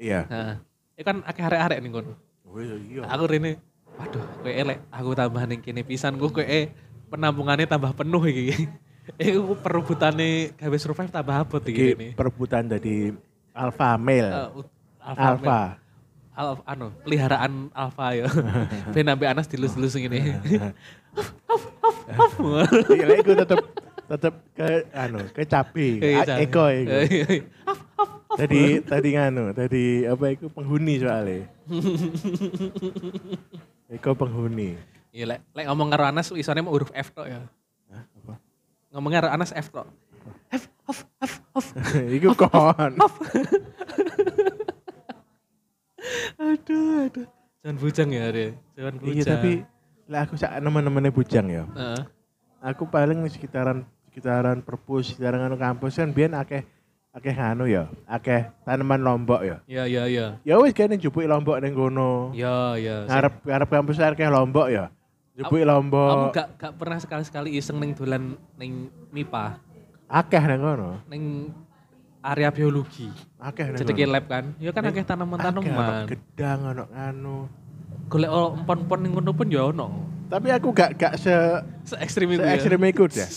Speaker 3: Iya.
Speaker 1: Nah, itu kan akeh arek-arek ning kono.
Speaker 3: Oh iya.
Speaker 1: Aku rene, waduh, kowe elek, aku tambah ning kene pisan ku kowe penampungannya tambah penuh iki. Iku perebutane gawe survive tambah abot iki
Speaker 3: Iki
Speaker 1: rene.
Speaker 3: perebutan dari alpha male.
Speaker 1: Uh, alpha.
Speaker 3: Oh, alpha.
Speaker 1: Alpha, anu, peliharaan alpha ya. Ben ambek Anas dilus-dilus ngene. Huff, huff, huff, huff.
Speaker 3: Iya, iku tetep tetep ke anu, ke cabe,
Speaker 1: Kayak
Speaker 3: a-
Speaker 1: gitu.
Speaker 3: eko iku.
Speaker 1: Huff, huff, huff.
Speaker 3: Tadi tadi nganu, tadi apa iku penghuni soalnya. Eko penghuni.
Speaker 1: Iya, lek lek ngomong karo Anas isone mau huruf F tok ya.
Speaker 3: Hah, apa?
Speaker 1: Ngomong karo Anas F tok. F, F, F, F.
Speaker 3: iku kon.
Speaker 1: Aduh, aduh. Jangan bujang ya, Re. Jangan bujang.
Speaker 3: Iya, tapi lah aku sak nemen-nemene bujang ya.
Speaker 1: Heeh.
Speaker 3: Aku paling sekitaran gitaran perpus, gitaran anu kampus kan biyen akeh akeh anu ya, akeh tanaman lombok ya.
Speaker 1: Ya ya ya.
Speaker 3: Ya wis kene jupuk lombok ning kono.
Speaker 1: Ya ya.
Speaker 3: Ngarep ngarep kampus akeh lombok ya. Jupuk
Speaker 1: Kamu
Speaker 3: lombok
Speaker 1: gak gak pernah sekali-sekali iseng neng dolan neng MIPA,
Speaker 3: akeh nang kono.
Speaker 1: neng area biologi.
Speaker 3: Akeh nang
Speaker 1: Jadi
Speaker 3: kono.
Speaker 1: lab kan. Ya kan akeh
Speaker 3: Akeh ono
Speaker 1: tanaman-tanaman.
Speaker 3: gedang ono anu.
Speaker 1: Golek ol- empon-empon ning ngono pun ya ono.
Speaker 3: Tapi aku gak gak se
Speaker 1: Se ekstrim itu
Speaker 3: se
Speaker 1: ya.
Speaker 3: ekstrem iku ya.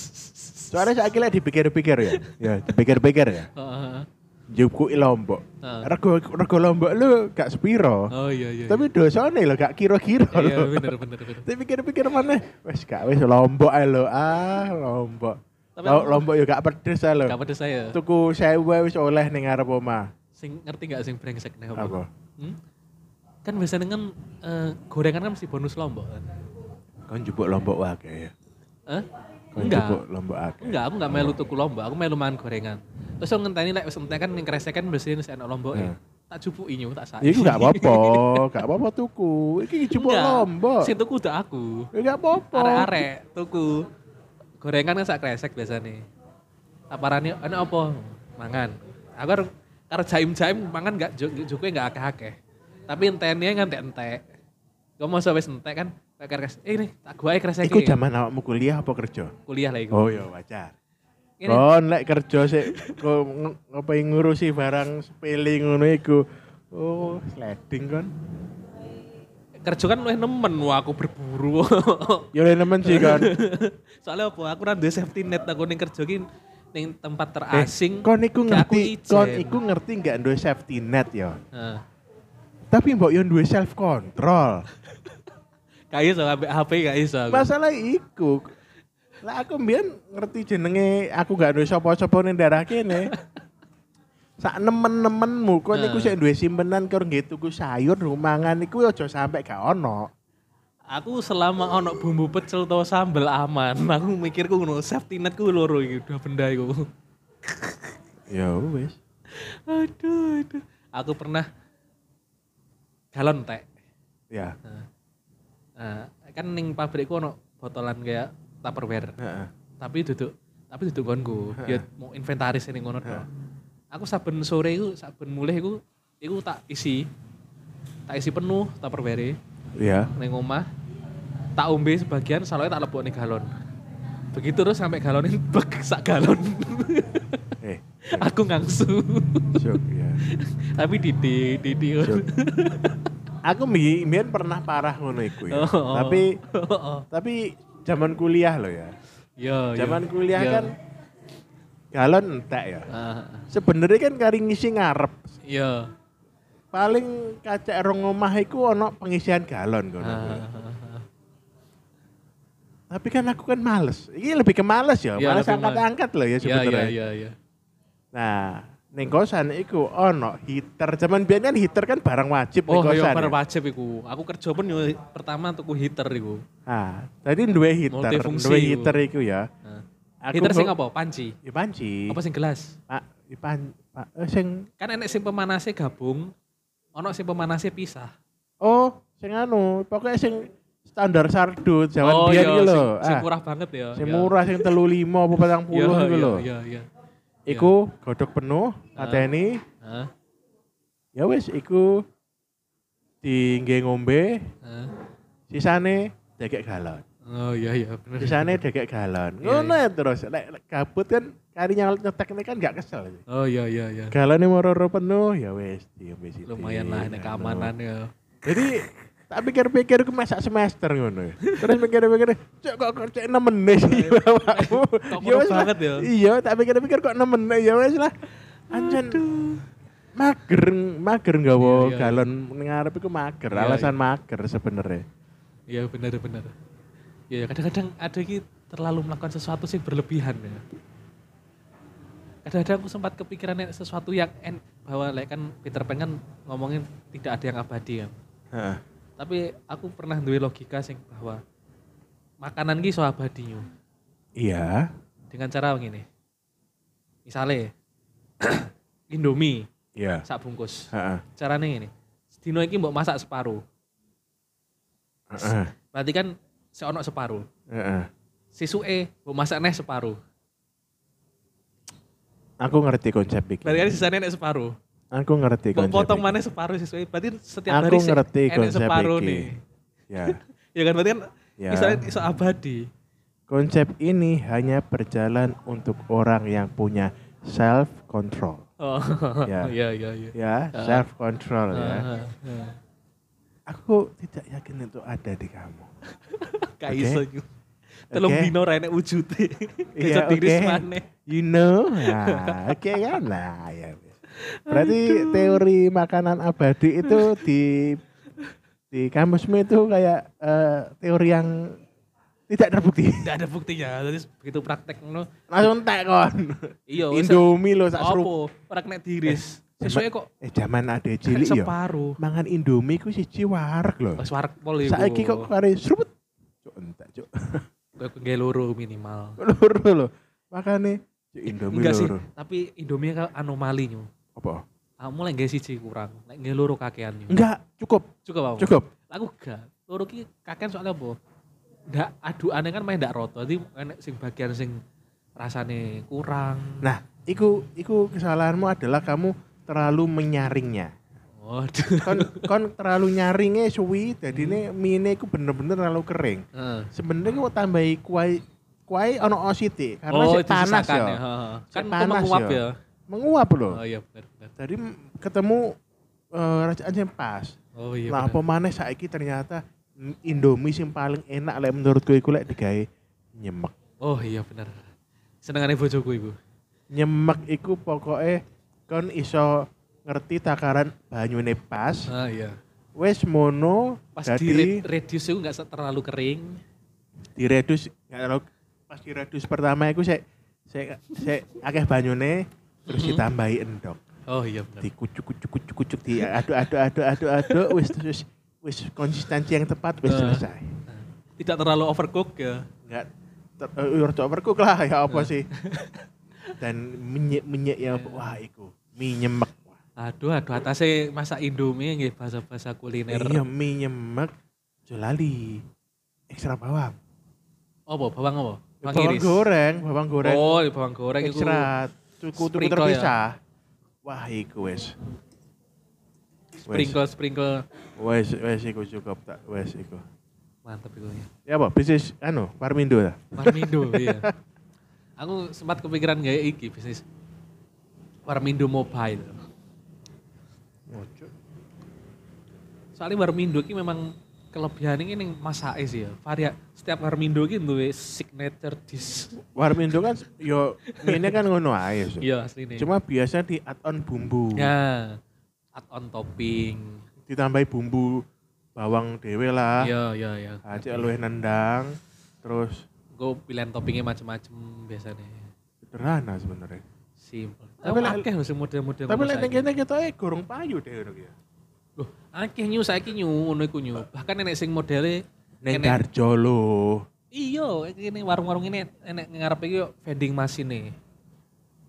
Speaker 3: Soalnya saya kira dipikir-pikir ya. Ya, dipikir-pikir ya.
Speaker 1: Heeh.
Speaker 3: Jupuk lombok.
Speaker 1: Heeh.
Speaker 3: Rego rego lombok lu gak sepiro.
Speaker 1: Ah. Oh iya iya.
Speaker 3: Tapi dosane lho gak kira-kira
Speaker 1: iya
Speaker 3: lho.
Speaker 1: bener bener bener.
Speaker 3: Tapi pikir-pikir mana? Wes gak wes lombok ae lho. Ah, lombok.
Speaker 1: Tapi
Speaker 3: Lauk
Speaker 1: aku-
Speaker 3: lombok yo gak pedes ae lho.
Speaker 1: Gak pedes saya.
Speaker 3: Tuku sewu ae wis oleh ning ngarep omah.
Speaker 1: Sing ngerti gak sing brengsek nih apa?
Speaker 3: Apa?
Speaker 1: Hmm? Kan biasanya kan eh, gorengan kan mesti bonus lombok kan.
Speaker 3: Kon jupuk lombok wae ya.
Speaker 1: Hah?
Speaker 3: Kon
Speaker 1: Enggak.
Speaker 3: jupuk lombok akeh.
Speaker 1: Enggak, aku enggak melu tuku lombok, aku melu mangan gorengan. Terus aku ngenteni lek wis entek kan ning kresek kan biasanya wis enak lombok
Speaker 3: Nah. Ya
Speaker 1: Tak cupuki nyu, tak sak.
Speaker 3: Iku gak apa-apa, gak apa-apa tuku. Iki jupuk
Speaker 1: Enggak.
Speaker 3: lombok.
Speaker 1: Sing tuku udah aku.
Speaker 3: Ya gak apa-apa.
Speaker 1: Arek-arek tuku. Gorengan kan sak kresek biasanya. Tak parani enak apa? Mangan. Aku karo- karo jaim-jaim mangan gak juke gak akeh-akeh. Tapi kan entene ngantek-entek. Kok masa wis entek kan? Tak kresek. Eh nih, tak gua ae kresek.
Speaker 3: Iku zaman awakmu kuliah apa kerja?
Speaker 1: kuliah lah iku.
Speaker 3: Oh ya wajar.
Speaker 1: Ini-
Speaker 3: Kon lek kerja sik kok ng- apa yang ngurusi barang sepele ngono iku. Oh, sliding kon.
Speaker 1: Kerja kan luwih nemen wah aku berburu.
Speaker 3: Ya oleh nemen sih kon.
Speaker 1: Soalnya apa? Aku ora duwe safety net aku ning kerja ki ning tempat
Speaker 3: Eh,
Speaker 1: terasing.
Speaker 3: kon iku
Speaker 1: kayak aku
Speaker 3: ngerti,
Speaker 1: ijen.
Speaker 3: kon iku ngerti gak duwe safety net ya.
Speaker 1: Heeh.
Speaker 3: Tapi mbok yo duwe self control.
Speaker 1: Kayak iso ambek HP gak iso aku.
Speaker 3: Masalah iku. Lah aku mbiyen ngerti jenenge aku gak duwe sapa-sapa ning daerah kene. Sak nemen-nemenmu kon iku sik duwe simpenan karo nggih tuku sayur rumangan iku aja sampe gak ono.
Speaker 1: Aku selama ono bumbu pecel atau sambel aman. Aku mikirku ngono, safety netku loro iki dua benda iku.
Speaker 3: Ya wis.
Speaker 1: aduh, aduh. Aku pernah galon teh.
Speaker 3: Ya.
Speaker 1: Nah, kan ning pabrikku ono botolan kayak Tupperware.
Speaker 3: Heeh.
Speaker 1: tapi duduk tapi duduk gonku ya mau inventaris ini ngono tok. aku saben sore iku saben mulai iku iku tak isi tak isi penuh tupperware
Speaker 3: Ya.
Speaker 1: ning omah tak ombe sebagian salahnya tak lebokne galon begitu terus sampai galonnya bek sak galon
Speaker 3: Eh,
Speaker 1: aku ngangsu
Speaker 3: syok ya.
Speaker 1: tapi didi didi
Speaker 3: Syok. Aku mbi- mbiyen pernah parah ngono iku ya.
Speaker 1: Oh.
Speaker 3: Tapi
Speaker 1: oh, oh.
Speaker 3: tapi zaman kuliah loh ya.
Speaker 1: ya ya.
Speaker 3: Zaman kuliah
Speaker 1: Ya.
Speaker 3: kan galon entek ya.
Speaker 1: Ah,
Speaker 3: Sebenarnya kan kari ngisi ngarep.
Speaker 1: ya
Speaker 3: Paling kacek rong omah iku ono pengisian galon kono.
Speaker 1: Ah,
Speaker 3: Tapi kan aku kan males. Ini lebih ke males ya,
Speaker 1: Ya,
Speaker 3: males
Speaker 1: lebih
Speaker 3: angkat-angkat loh ya
Speaker 1: ya ya
Speaker 3: sebenarnya.
Speaker 1: ya ya
Speaker 3: Nah, ning kosan iku ono heater. Zaman biyen kan heater kan barang wajib ning
Speaker 1: oh
Speaker 3: kosan. ya.
Speaker 1: ya bar wajib iku aku kerja pun yo pertama tuku heater iku
Speaker 3: Ah, tadi duwe heater,
Speaker 1: Multifungsi
Speaker 3: duwe
Speaker 1: iku.
Speaker 3: heater iku ya.
Speaker 1: Nah.
Speaker 3: Aku
Speaker 1: Heater sing
Speaker 3: mau-
Speaker 1: apa? Panci.
Speaker 3: Ya panci.
Speaker 1: Apa sing gelas?
Speaker 3: Pak, ya pan, pak, eh, sing
Speaker 1: Kan enek sing pemanasnya gabung, ono sing pemanasnya pisah.
Speaker 3: oh, sing anu, pokoknya sing standar sardut zaman
Speaker 1: oh
Speaker 3: biyen
Speaker 1: iya,
Speaker 3: iki lho.
Speaker 1: sing, sing
Speaker 3: Ah,
Speaker 1: murah banget ya.
Speaker 3: sing
Speaker 1: ya.
Speaker 3: murah, sing 35 apa 40 iku
Speaker 1: Iya, iya,
Speaker 3: lho.
Speaker 1: Iya, iya.
Speaker 3: Iku godhog penuh, kateni,
Speaker 1: Hah?
Speaker 3: ya wis iku di nggih ngombe,
Speaker 1: Hah?
Speaker 3: sisane degek galon.
Speaker 1: Oh iya iya bener.
Speaker 3: Sisane degek galon.
Speaker 1: Iya,
Speaker 3: Ngono ya terus lek lek kabut kan kari nyal nyetek ini kan gak kesel.
Speaker 1: Oh iya iya iya.
Speaker 3: Galane moro-moro penuh ya wis diombe sithik.
Speaker 1: Lumayan lah enek keamanan ya.
Speaker 3: Iya, Jadi tak pikir-pikir aku masak semester ngono. ya. Terus pikir-pikir, cok kok kok cek nemene sih bapakmu.
Speaker 1: Kok
Speaker 3: Ya wis
Speaker 1: murah
Speaker 3: lah.
Speaker 1: banget ya?
Speaker 3: Iya, tak pikir-pikir kok nemene ya wis lah. Anjen. Mager, mager nggawa
Speaker 1: Iya, iya.
Speaker 3: galon ning ngarep iku mager,
Speaker 1: Iya,
Speaker 3: alasan mager sebenarnya.
Speaker 1: Iya bener bener. Iya iya, kadang-kadang ada iki terlalu melakukan sesuatu sing berlebihan ya. Kadang-kadang aku sempat kepikiran nek sesuatu yang en, bahwa lek kan Peter Pan kan ngomongin tidak ada yang abadi kan.
Speaker 3: Heeh.
Speaker 1: tapi aku pernah duwe logika sing bahwa makanan ki iso abadi yo.
Speaker 3: Iya,
Speaker 1: dengan cara ngene. Misale Indomie
Speaker 3: iya.
Speaker 1: sak bungkus.
Speaker 3: Heeh.
Speaker 1: Carane ngene. Sedino iki mbok masak separo.
Speaker 3: Heeh.
Speaker 1: Berarti kan seono separo.
Speaker 3: Heeh.
Speaker 1: Sisuke mbok masak neh separo.
Speaker 3: Aku ngerti konsep iki.
Speaker 1: Berarti kan sisanya nek separuh.
Speaker 3: Aku ngerti
Speaker 1: Kok
Speaker 3: konsep.
Speaker 1: potong
Speaker 3: iki.
Speaker 1: mana separuh sesuai. Berarti setiap
Speaker 3: Aku
Speaker 1: hari se-
Speaker 3: ngerti
Speaker 1: enek
Speaker 3: konsep
Speaker 1: separuh
Speaker 3: iki.
Speaker 1: nih.
Speaker 3: Ya.
Speaker 1: Ya kan berarti kan
Speaker 3: Ya.
Speaker 1: misalnya iso abadi.
Speaker 3: Konsep ini hanya berjalan untuk orang yang punya self control.
Speaker 1: Oh.
Speaker 3: Ya.
Speaker 1: Iya iya iya.
Speaker 3: Ya,
Speaker 1: Ah.
Speaker 3: self control ya.
Speaker 1: Ah, ah.
Speaker 3: Aku tidak yakin itu ada di kamu.
Speaker 1: Gak
Speaker 3: Oke.
Speaker 1: iso yo. Telung
Speaker 3: Oke.
Speaker 1: dino rene wujude.
Speaker 3: Iya,
Speaker 1: Kecet tiris
Speaker 3: oke.
Speaker 1: maneh.
Speaker 3: You know, nah, oke kan, nah, ya. Berarti teori makanan abadi itu di di kampusmu itu kayak eh, teori yang tidak terbukti.
Speaker 1: Tidak ada buktinya. Jadi begitu praktek ngono.
Speaker 3: Langsung tak kon.
Speaker 1: Iya, wes-
Speaker 3: Indomie lo sak seru.
Speaker 1: Apa? Ora kena diiris. Sesuai kok
Speaker 3: Eh zaman ade
Speaker 1: kan
Speaker 3: cilik ya.
Speaker 1: separuh.
Speaker 3: Mangan Indomie ku siji wareg lho.
Speaker 1: Wes warek pol iku.
Speaker 3: Saiki kok kare srupet. Cuk entek cuk.
Speaker 1: Kayak nggae loro minimal.
Speaker 3: Loro lho. Makane cuk Indomie
Speaker 1: Enggak sih,
Speaker 3: loro.
Speaker 1: tapi Indomie kan anomali nyu.
Speaker 3: Apa?
Speaker 1: Kamu lek nggak siji kurang, lek nggak loro kakean nyu.
Speaker 3: Enggak, cukup,
Speaker 1: Cukup apa?
Speaker 3: cukup.
Speaker 1: Aku gak. Loro ki kakean soalnya apa? Ndak adu aneh kan main ndak roto. Jadi enek sing bagian sing rasane kurang.
Speaker 3: Nah, iku iku kesalahanmu adalah kamu terlalu menyaringnya.
Speaker 1: Waduh.
Speaker 3: Kon kon terlalu nyaringnya suwi, jadi ini
Speaker 1: Hmm.
Speaker 3: mie iku bener-bener terlalu kering.
Speaker 1: Heeh.
Speaker 3: Sebenarnya mau tambahi kuai kuai ono osite karena
Speaker 1: oh,
Speaker 3: sik panas
Speaker 1: disisakan
Speaker 3: ya.
Speaker 1: ya. heeh. Kan
Speaker 3: Sik
Speaker 1: itu
Speaker 3: panas
Speaker 1: menguap
Speaker 3: ya.
Speaker 1: ya.
Speaker 3: Menguap loh.
Speaker 1: Oh iya benar benar.
Speaker 3: Jadi m- ketemu eh, rajaan yang pas.
Speaker 1: Oh iya.
Speaker 3: nah, apa
Speaker 1: bener.
Speaker 3: maneh saiki ternyata mm, Indomie sing paling enak lek menurutku iku lek digawe nyemek.
Speaker 1: Oh iya benar. Senengane bojoku iku.
Speaker 3: Nyemek iku pokoknya kon iso ngerti takaran banyune pas.
Speaker 1: Ah iya.
Speaker 3: Wes mono
Speaker 1: Pas
Speaker 3: jadi
Speaker 1: di reduce itu nggak terlalu kering.
Speaker 3: diredus nggak terlalu pas diredus pertama iku sik sik sik akeh banyune terus
Speaker 1: Mhm.
Speaker 3: ditambahi endok.
Speaker 1: Oh iya benar.
Speaker 3: dikucuk kucuk kucuk kucuk di aduk aduk aduk aduk aduk wis wis wis konsistensi yang tepat wis
Speaker 1: Eh.
Speaker 3: selesai
Speaker 1: Tidak terlalu overcook ya.
Speaker 3: nggak ter- eh, urut overcook lah ya apa sih dan minyak minyak ya apa? wah iku mie nyemek Wah,
Speaker 1: Aduh, aduh atasnya masak Indomie nggih bahasa-bahasa kuliner.
Speaker 3: iya mie nyemek jolali ekstra bawang
Speaker 1: Apa bawang apa? Bawang
Speaker 3: bawang
Speaker 1: iris.
Speaker 3: goreng bawang goreng
Speaker 1: Oh, iya, bawang goreng itu.
Speaker 3: ekstra cukup cukup
Speaker 1: sprinkle ya?
Speaker 3: terpisah wah iku wes wes
Speaker 1: Sprinkle sprinkle
Speaker 3: wes wes iku cukup tak wes iku
Speaker 1: mantep itu ya.
Speaker 3: ya apa bisnis anu parmindo lah
Speaker 1: Warmindo iya. Aku sempat kepikiran gaya iki bisnis Warmindo Mobile. Soalnya Warmindo ini memang kelebihan ini yang masake sih ya. Varia setiap Warmindo ini duwe signature dish.
Speaker 3: Warmindo kan yo ini kan ngono ae. Su.
Speaker 1: Iya asline.
Speaker 3: Cuma biasa di add on bumbu.
Speaker 1: ya add on topping.
Speaker 3: Ditambahi bumbu bawang dewe lah.
Speaker 1: Iya iya iya.
Speaker 3: Acik luwih nendang. Terus
Speaker 1: Gue pilihan toppingnya macem-macem biasanya.
Speaker 3: sederhana sebenarnya.
Speaker 1: Simple.
Speaker 3: Tapi
Speaker 1: Tapi
Speaker 3: lek-
Speaker 1: akeh lho sing model-model.
Speaker 3: Tapi
Speaker 1: ngono
Speaker 3: lek ning
Speaker 1: saiki.
Speaker 3: kene ketoke gorong payu deh ngono ki ya.
Speaker 1: Loh, akeh nyu saiki nyu ngono iku nyu. Bahkan nenek sing modele
Speaker 3: Ning
Speaker 1: enek-
Speaker 3: Darjo lho.
Speaker 1: Iya, ini warung-warung ini enek ngarep iki yo vending machine nih.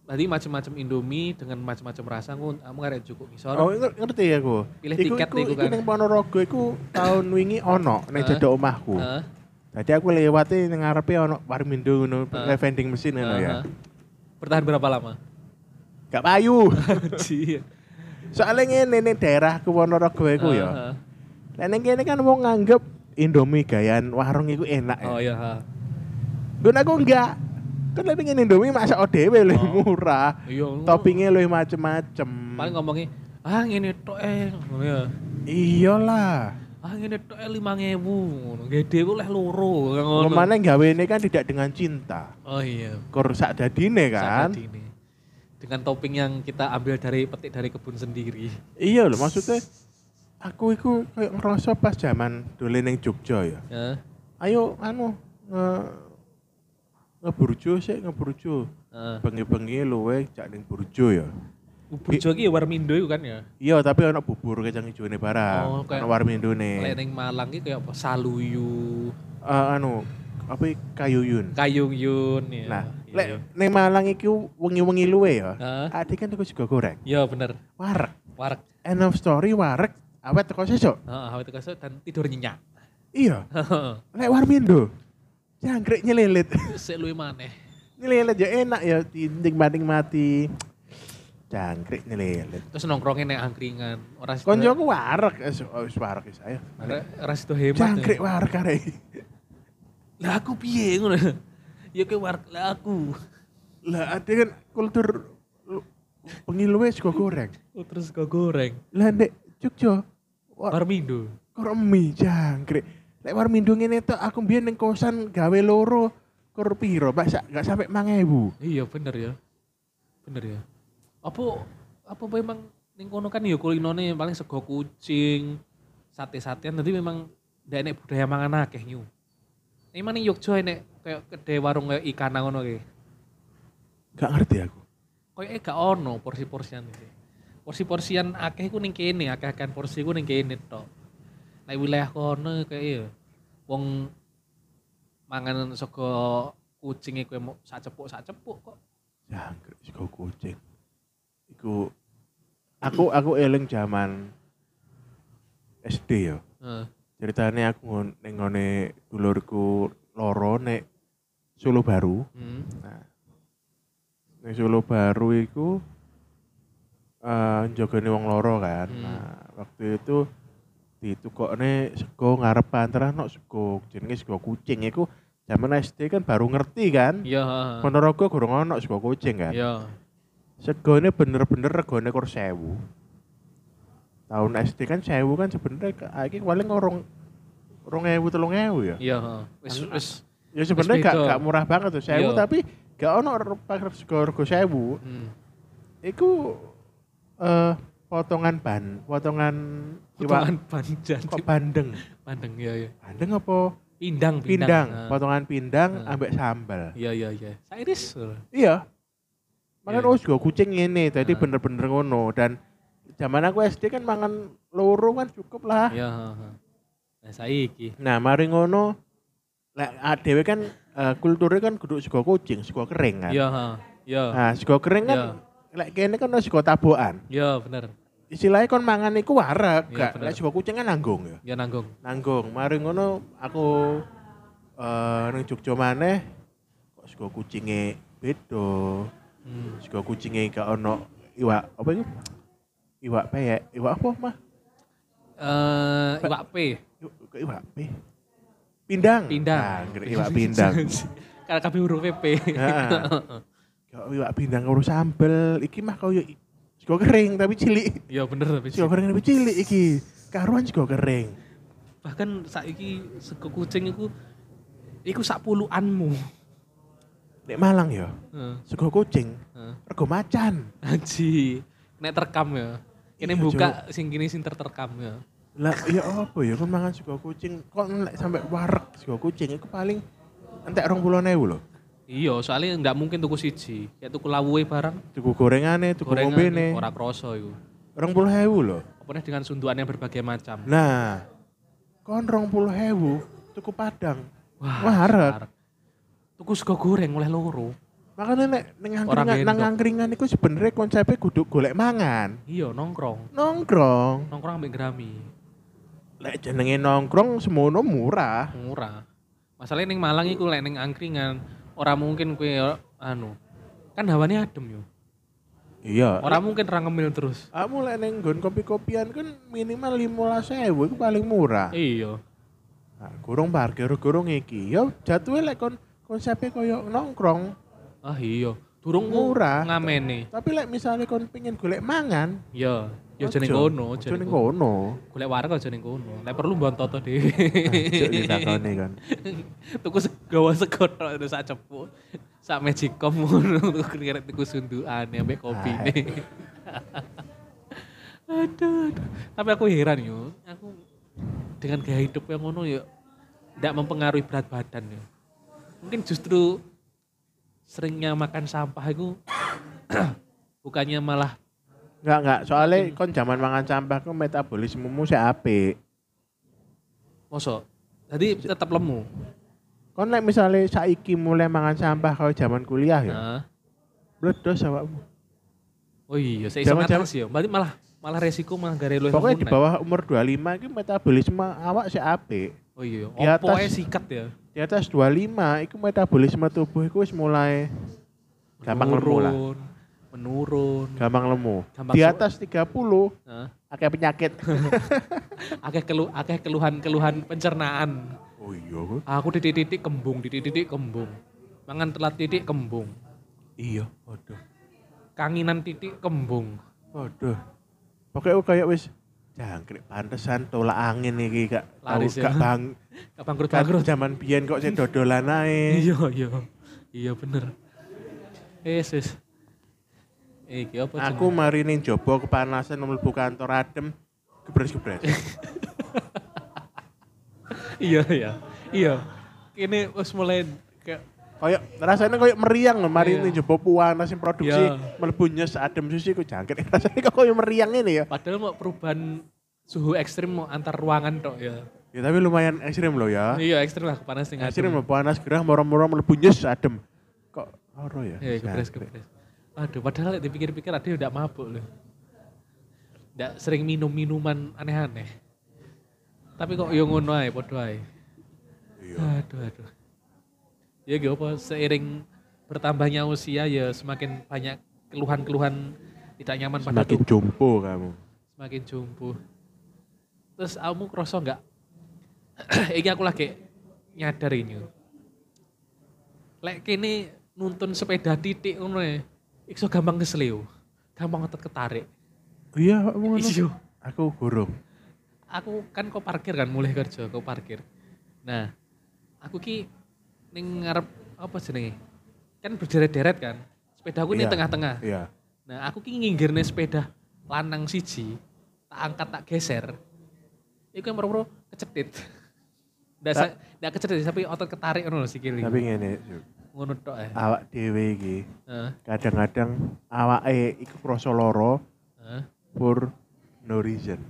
Speaker 1: Tadi macam-macam Indomie dengan macam-macam rasa ngun- kamu karek cukup ngisor.
Speaker 3: Oh nger- ngerti ya aku.
Speaker 1: Pilih tiket iku kan.
Speaker 3: ning Ponorogo iku tahun wingi ono ning
Speaker 1: Heeh.
Speaker 3: jeda omahku.
Speaker 1: Heeh.
Speaker 3: Tadi aku lewati ning ngarepe ono Warmindo ngono,
Speaker 1: Heeh.
Speaker 3: vending mesin ngono ya.
Speaker 1: Heeh. Bertahan berapa lama?
Speaker 3: Gak payu.
Speaker 1: Iya.
Speaker 3: Soalnya ngene ning daerahku Ponorogo iku ya. Lah ning kene kan wong nganggep Indomie gayaan warung iku enak ya.
Speaker 1: Oh iya. ha.
Speaker 3: Gun aku enggak. Kan lek pengen Indomie masak dhewe lebih
Speaker 1: Oh.
Speaker 3: murah.
Speaker 1: Iya.
Speaker 3: Toppingnya lebih macem-macem.
Speaker 1: paling ngomongnya ah ngene tok eh ngono ya.
Speaker 3: Iyalah.
Speaker 1: Ah ngene tok eh 5000 ngono. Gede ku leh loro ngono.
Speaker 3: Lemana gawe ini kan tidak dengan cinta.
Speaker 1: Oh iya.
Speaker 3: Kur sak dadine kan.
Speaker 1: Saat ini. Dengan topping yang kita ambil dari petik dari kebun sendiri.
Speaker 3: Iya loh maksudnya aku iku kayak ngerasa pas zaman dolen ning Jogja ya.
Speaker 1: Ya.
Speaker 3: Ayo anu nge ngeburjo sik ngeburjo.
Speaker 1: Heeh.
Speaker 3: Bengi-bengi luwe jak ning burjo ya.
Speaker 1: Bojo iki ya Warmindo iku kan ya.
Speaker 3: Iya, tapi ono bubur kacang hijau ini barang.
Speaker 1: Oh, kayak-
Speaker 3: ono warmindo nih.
Speaker 1: Lek ning Malang iki kayak apa saluyu,
Speaker 3: Eh, anu, apa iki? kayuyun.
Speaker 1: kayung yun ya.
Speaker 3: Nah,
Speaker 1: Iya.
Speaker 3: lek ning Malang iki wengi-wengi luwe ya.
Speaker 1: Heeh.
Speaker 3: Adik kan tuku juga goreng.
Speaker 1: Ya bener.
Speaker 3: Warek.
Speaker 1: Warak.
Speaker 3: End of story warek awet teko sesuk.
Speaker 1: Heeh, awet kesel dan tidur nyenyak.
Speaker 3: Iya,
Speaker 1: Heeh.
Speaker 3: lek warmindo. Jangkrik nyelilit.
Speaker 1: Sik luwe maneh.
Speaker 3: Ini lelet ya enak ya, dinding banding mati. Jangkrik ini lelet.
Speaker 1: Terus nongkrongnya neng angkringan. Orang situ-
Speaker 3: Konjoku warak, eh, su- oh, wis warak ya saya.
Speaker 1: orang- orang situ hemat. ya.
Speaker 3: Jangkrik warak karek.
Speaker 1: Lah aku piye ngono. Ya ke war lah aku.
Speaker 3: Lah ada kan kultur lu- pengiluwe sego goreng.
Speaker 1: Oh, Terus kau goreng.
Speaker 3: Lah ndek Jogja war-
Speaker 1: Warmindo.
Speaker 3: kor mie jangkrik. Lek warmindo ngene tok aku mbiyen ning kosan gawe loro kur piro, Pak? Sak- Gak sampe 1000.
Speaker 1: Iya bener ya. Bener ya. Apa apa memang ning kono kan ya kulinone paling sego kucing, sate-satean nanti memang ndak enek budaya mangan akeh nyu. Emang ning Yogyo enek kayak kedai warung kayak ikan ngono ki.
Speaker 3: Gak ngerti aku.
Speaker 1: Kayak ya, eh, gak ono porsi-porsian iki. Porsi-porsian akeh ku ning kene, akeh-akehan porsi ku ning kene tok. Nek wilayah kono kayak ya wong mangan sego kucing iku mau sak cepuk-sak cepuk kok.
Speaker 3: Jangkrik sego kucing. Iku aku aku eling jaman SD ya.
Speaker 1: Heeh.
Speaker 3: Ceritanya aku ngon- ning ngone dulurku loro nek Solo Baru.
Speaker 1: Hmm.
Speaker 3: Nah, ning Solo Baru iku eh jogone wong loro kan.
Speaker 1: Hmm.
Speaker 3: Nah, waktu itu ditukokne sego ngarep panteran no sego jenenge sego kucing iku zaman SD kan baru ngerti kan.
Speaker 1: Iya, heeh.
Speaker 3: Ponorogo gurung ono sego kucing kan.
Speaker 1: Iya.
Speaker 3: Segone bener-bener regane kur 1000. Tahun SD kan 1000 kan sebenarnya ke- ah, iki paling orang 2000 3000 ya.
Speaker 1: Iya, heeh. Wis
Speaker 3: Anu-
Speaker 1: wis.
Speaker 3: Ya sebenarnya gak,
Speaker 1: beda.
Speaker 3: gak murah banget tuh 1000
Speaker 1: Iya.
Speaker 3: tapi gak ono re- pakai sego rego 1000.
Speaker 1: Hmm.
Speaker 3: Iku eh potongan ban, potongan iwak-
Speaker 1: Potongan panjang.
Speaker 3: Iya, kok bandeng.
Speaker 1: Pandeng ya ya.
Speaker 3: Bandeng apa?
Speaker 1: Pindang, eh.
Speaker 3: Pindang,
Speaker 1: Nah.
Speaker 3: potongan pindang
Speaker 1: Nah.
Speaker 3: ambek sambal.
Speaker 1: Iya, iya, iya. Sairis.
Speaker 3: Iya. Makan
Speaker 1: Iya.
Speaker 3: oh juga kucing ini, jadi
Speaker 1: Ah.
Speaker 3: bener-bener ngono dan zaman aku SD kan mangan loro kan cukup lah.
Speaker 1: Iya, heeh. Nah, saiki.
Speaker 3: Nah, mari ngono lek adewe kan eh, kulturnya kan kudu sego kucing, sego kering kan.
Speaker 1: Iya, heeh. Iya.
Speaker 3: Nah, sego kering kan lek kene kan ono sego tabokan.
Speaker 1: Iya, bener.
Speaker 3: Istilahnya kon mangan iku warak,
Speaker 1: Iya,
Speaker 3: gak
Speaker 1: bener.
Speaker 3: lek sego kucing kan nanggung ya.
Speaker 1: Ya nanggung.
Speaker 3: Nanggung. Mari ngono aku eh nang Jogja maneh kok sego kucinge beda.
Speaker 1: Hmm.
Speaker 3: Sego kucinge gak ono iwak apa itu? Iwak peyek, iwak apa mah?
Speaker 1: Eh, iwak P.
Speaker 3: Iwak, kok iwak pe. Pindang.
Speaker 1: Pindang.
Speaker 3: Nah, kira iwak pindang. Ah.
Speaker 1: Karena kabeh huruf P.
Speaker 3: Heeh. Gak iwak pindang urus sambel, iki mah kau sego kering tapi cilik.
Speaker 1: Iya, bener tapi sih.
Speaker 3: Sego kering tapi cilik iki. Karuan sego kering.
Speaker 1: Bahkan saiki sego kucing iku iku sak puluhanmu.
Speaker 3: Nek Malang ya,
Speaker 1: Heeh.
Speaker 3: sego kucing,
Speaker 1: heeh.
Speaker 3: rego macan.
Speaker 1: Haji. Nek terekam ya. Ini
Speaker 3: Iya,
Speaker 1: buka sing kini sing terterkam ya.
Speaker 3: Lah ya apa ya kon mangan sego kucing, kok lek sampe wareg sego kucing iku paling entek 20.000 lho.
Speaker 1: Iya, soalnya nggak mungkin tuku siji. Kayak tuku lawuhe barang,
Speaker 3: Tuku gorengane, tuku
Speaker 1: gorengan
Speaker 3: ngombene,
Speaker 1: ora kroso iku.
Speaker 3: 20.000 lho.
Speaker 1: Apalagi dengan sunduannya berbagai macam.
Speaker 3: Nah, kon rong puluh hewu, tuku padang. Wah, arek.
Speaker 1: arek. Tuku sego goreng oleh loro.
Speaker 3: Makanya nek neng
Speaker 1: Orang
Speaker 3: angkringan, nang
Speaker 1: ngendok.
Speaker 3: angkringan itu sebenarnya konsepnya kudu golek mangan.
Speaker 1: Iya, nongkrong.
Speaker 3: Nongkrong.
Speaker 1: Nongkrong ambek gerami.
Speaker 3: Lek jenenge nongkrong semono murah.
Speaker 1: Murah. Masalahnya ning Malang iku lek ning angkringan, ora mungkin kue anu. Kan hawane adem yo.
Speaker 3: Iya.
Speaker 1: Ora mungkin ra ngemil terus.
Speaker 3: Kamu lek neng nggon kopi-kopian kan minimal 15.000 itu paling murah.
Speaker 1: Iya.
Speaker 3: Nah, gurung parkir, gurung iki. Yo jadwalnya lek kon konsepnya koyo nongkrong.
Speaker 1: Ah iya. Durung ku
Speaker 3: Murah.
Speaker 1: Ngamene.
Speaker 3: Tapi lek misalnya kon pengen golek mangan,
Speaker 1: Iya. Yo
Speaker 3: ojo.
Speaker 1: jeneng kono,
Speaker 3: Ojo
Speaker 1: jeneng
Speaker 3: ning
Speaker 1: kono.
Speaker 3: kono.
Speaker 1: Golek warung aja ning kono. Lek perlu mbon toto
Speaker 3: Ojo
Speaker 1: dhewe.
Speaker 3: ditakoni kan.
Speaker 1: tuku segawa segotok itu sak cepuk sak magicom ngono tuku kira tuku sundukan ya
Speaker 3: Ah.
Speaker 1: mbek kopi aduh, aduh. tapi aku heran yo aku dengan gaya hidup yang ngono yo tidak mempengaruhi berat badan yo mungkin justru seringnya makan sampah itu bukannya malah
Speaker 3: Enggak, enggak. Soalnya kon zaman mangan sampah kon metabolismemu sik apik.
Speaker 1: mosok jadi tetap lemu
Speaker 3: Kon lek misale saiki mulai mangan sampah kalau zaman kuliah ya,
Speaker 1: nah.
Speaker 3: bledos awakmu.
Speaker 1: oh iya saya iso
Speaker 3: Jaman-jaman-
Speaker 1: ngatasi yo berarti malah malah resiko malah gare luwih
Speaker 3: Pokoknya di
Speaker 1: kemunan.
Speaker 3: bawah umur 25 iki metabolisme awak sik apik.
Speaker 1: Oh iya,
Speaker 3: Di
Speaker 1: opo
Speaker 3: atas.
Speaker 1: ae sikat ya.
Speaker 3: Di atas 25, itu metabolisme tubuh itu wis mulai gampang lemu lah.
Speaker 1: Menurun, menurun.
Speaker 3: Gampang lemu.
Speaker 1: Gampang
Speaker 3: Di
Speaker 1: so-
Speaker 3: atas 30,
Speaker 1: Hah?
Speaker 3: akeh penyakit.
Speaker 1: Akeh kelu akeh keluhan-keluhan pencernaan.
Speaker 3: oh iya,
Speaker 1: Aku titik-titik kembung, titik-titik kembung. Mangan telat titik kembung.
Speaker 3: iya, waduh.
Speaker 1: Kanginan titik kembung.
Speaker 3: Waduh. Pokoknya aku kayak wis jangkrik pantesan tolak angin iki kak.
Speaker 1: Laris ya.
Speaker 3: Kak bang.
Speaker 1: Gak bangkrut
Speaker 3: Kak
Speaker 1: bangkrut.
Speaker 3: zaman biyen kok sih dodolan ae.
Speaker 1: Iya, iya. Iya bener. Yes, yes. Iki apa
Speaker 3: Aku mari ning jobo kepanasan mlebu kantor adem. Gebres-gebres.
Speaker 1: Iya, iya. Iya. Ini wis mulai kayak
Speaker 3: kayak rasanya kayak meriang loh mari
Speaker 1: Iya.
Speaker 3: ning jobo puanas sing produksi
Speaker 1: Iya.
Speaker 3: mlebu nyes adem susi ku jangkrik. Rasanya kok kayak meriang ini ya.
Speaker 1: padahal mau perubahan suhu ekstrim mau antar ruangan tok ya.
Speaker 3: Ya tapi lumayan ekstrim loh ya.
Speaker 1: Iya, ekstrim lah kepanas tinggal.
Speaker 3: Ekstrim loh panas gerah moro-moro mlebu nyes adem. Kok loro ya?
Speaker 1: Iya, kepres
Speaker 3: Jangkrik.
Speaker 1: kepres. Aduh, padahal lek dipikir-pikir ada udah mabuk loh. Ndak sering minum minuman aneh-aneh. Tapi kok yo ngono ae, padha ae.
Speaker 3: Iya.
Speaker 1: Aduh, aduh. Ya gak apa, seiring bertambahnya usia ya semakin banyak keluhan-keluhan tidak nyaman pada
Speaker 3: Semakin
Speaker 1: tubuh,
Speaker 3: jompo kamu.
Speaker 1: semakin jumpuh. Terus kamu kroso nggak? ini aku lagi nyadar ini. Lek kini nuntun sepeda titik ngono ya. Iso gampang kesleo. Gampang otot ketarik.
Speaker 3: Iya, kamu ngono.
Speaker 1: Iya.
Speaker 3: Aku gurung.
Speaker 1: aku kan kau parkir kan mulai kerja kau parkir nah aku ki ning ngarep apa jenenge kan berderet-deret kan sepeda aku ning
Speaker 3: Iya.
Speaker 1: tengah-tengah
Speaker 3: Iya.
Speaker 1: nah aku ki nginggirne sepeda lanang siji tak angkat tak geser itu yang pro-pro kecetit ndak sa- ndak kecetit tapi otot ketarik ngono lho sikil
Speaker 3: Tapi Ah. ngene, Juk.
Speaker 1: ngono tok eh
Speaker 3: awak dhewe iki
Speaker 1: Heeh.
Speaker 3: kadang-kadang awake iku krasa lara
Speaker 1: Heeh.
Speaker 3: for no reason.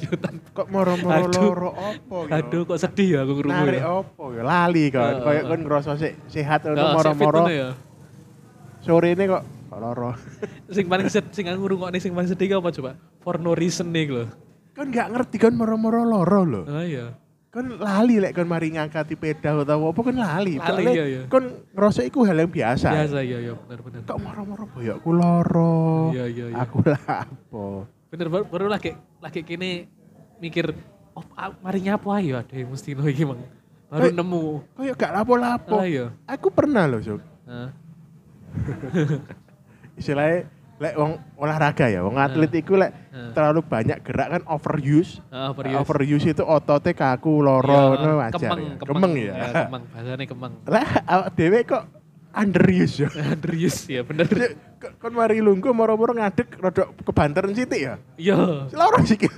Speaker 1: Yo, tan-
Speaker 3: Kok moro-moro
Speaker 1: Aduh.
Speaker 3: lara opo ya?
Speaker 1: aduh kok sedih ya aku ngrungu
Speaker 3: Narik
Speaker 1: ya
Speaker 3: opo ya? Lali
Speaker 1: Heeh.
Speaker 3: kan. Kayak kon ngrasa sik sehat ngono
Speaker 1: Nah, sik fit
Speaker 3: moro-moro.
Speaker 1: ngono ya.
Speaker 3: Sore ini kok kok lara.
Speaker 1: sing paling sedih sing aku ngrungokne sing paling sedih ki apa coba for no reason nih lho
Speaker 3: Kon gak ngerti kon moro-moro lara lho.
Speaker 1: Oh iya.
Speaker 3: Kon lali lek kon mari ngangkati peda utawa apa kon lali.
Speaker 1: Lali,
Speaker 3: Soalnya
Speaker 1: iya, iya.
Speaker 3: Kon ngrasa iku hal yang biasa.
Speaker 1: Biasa iya iya benar benar.
Speaker 3: Kok moro-moro boyokku lara.
Speaker 1: Iya iya iya.
Speaker 3: Aku lapo.
Speaker 1: Bener baru, baru lagi lagi kini mikir oh ah, mari nyapu ayo ada yang mesti lagi mang. Baru
Speaker 3: Eh.
Speaker 1: nemu.
Speaker 3: Kayak gak lapo-lapo.
Speaker 1: Lah iya.
Speaker 3: Aku pernah loh, Sob.
Speaker 1: Nah,
Speaker 3: Istilahnya lek wong olahraga ya, wong atlet iku lek
Speaker 1: Heeh.
Speaker 3: terlalu banyak gerak kan overuse.
Speaker 1: ah, baru
Speaker 3: Overuse, itu ototnya kaku, loro, ngono wajar.
Speaker 1: kemeng,
Speaker 3: ya.
Speaker 1: kemeng,
Speaker 3: Kemeng ya.
Speaker 1: ya. kemeng, bahasanya kemeng.
Speaker 3: Lah awak dhewe kok underuse ya.
Speaker 1: Andrius ya bener.
Speaker 3: Jadi, kok- Kon mari lungguh moro-moro ngadeg rodok kebanteran sithik ya.
Speaker 1: Iya.
Speaker 3: Loro sikil.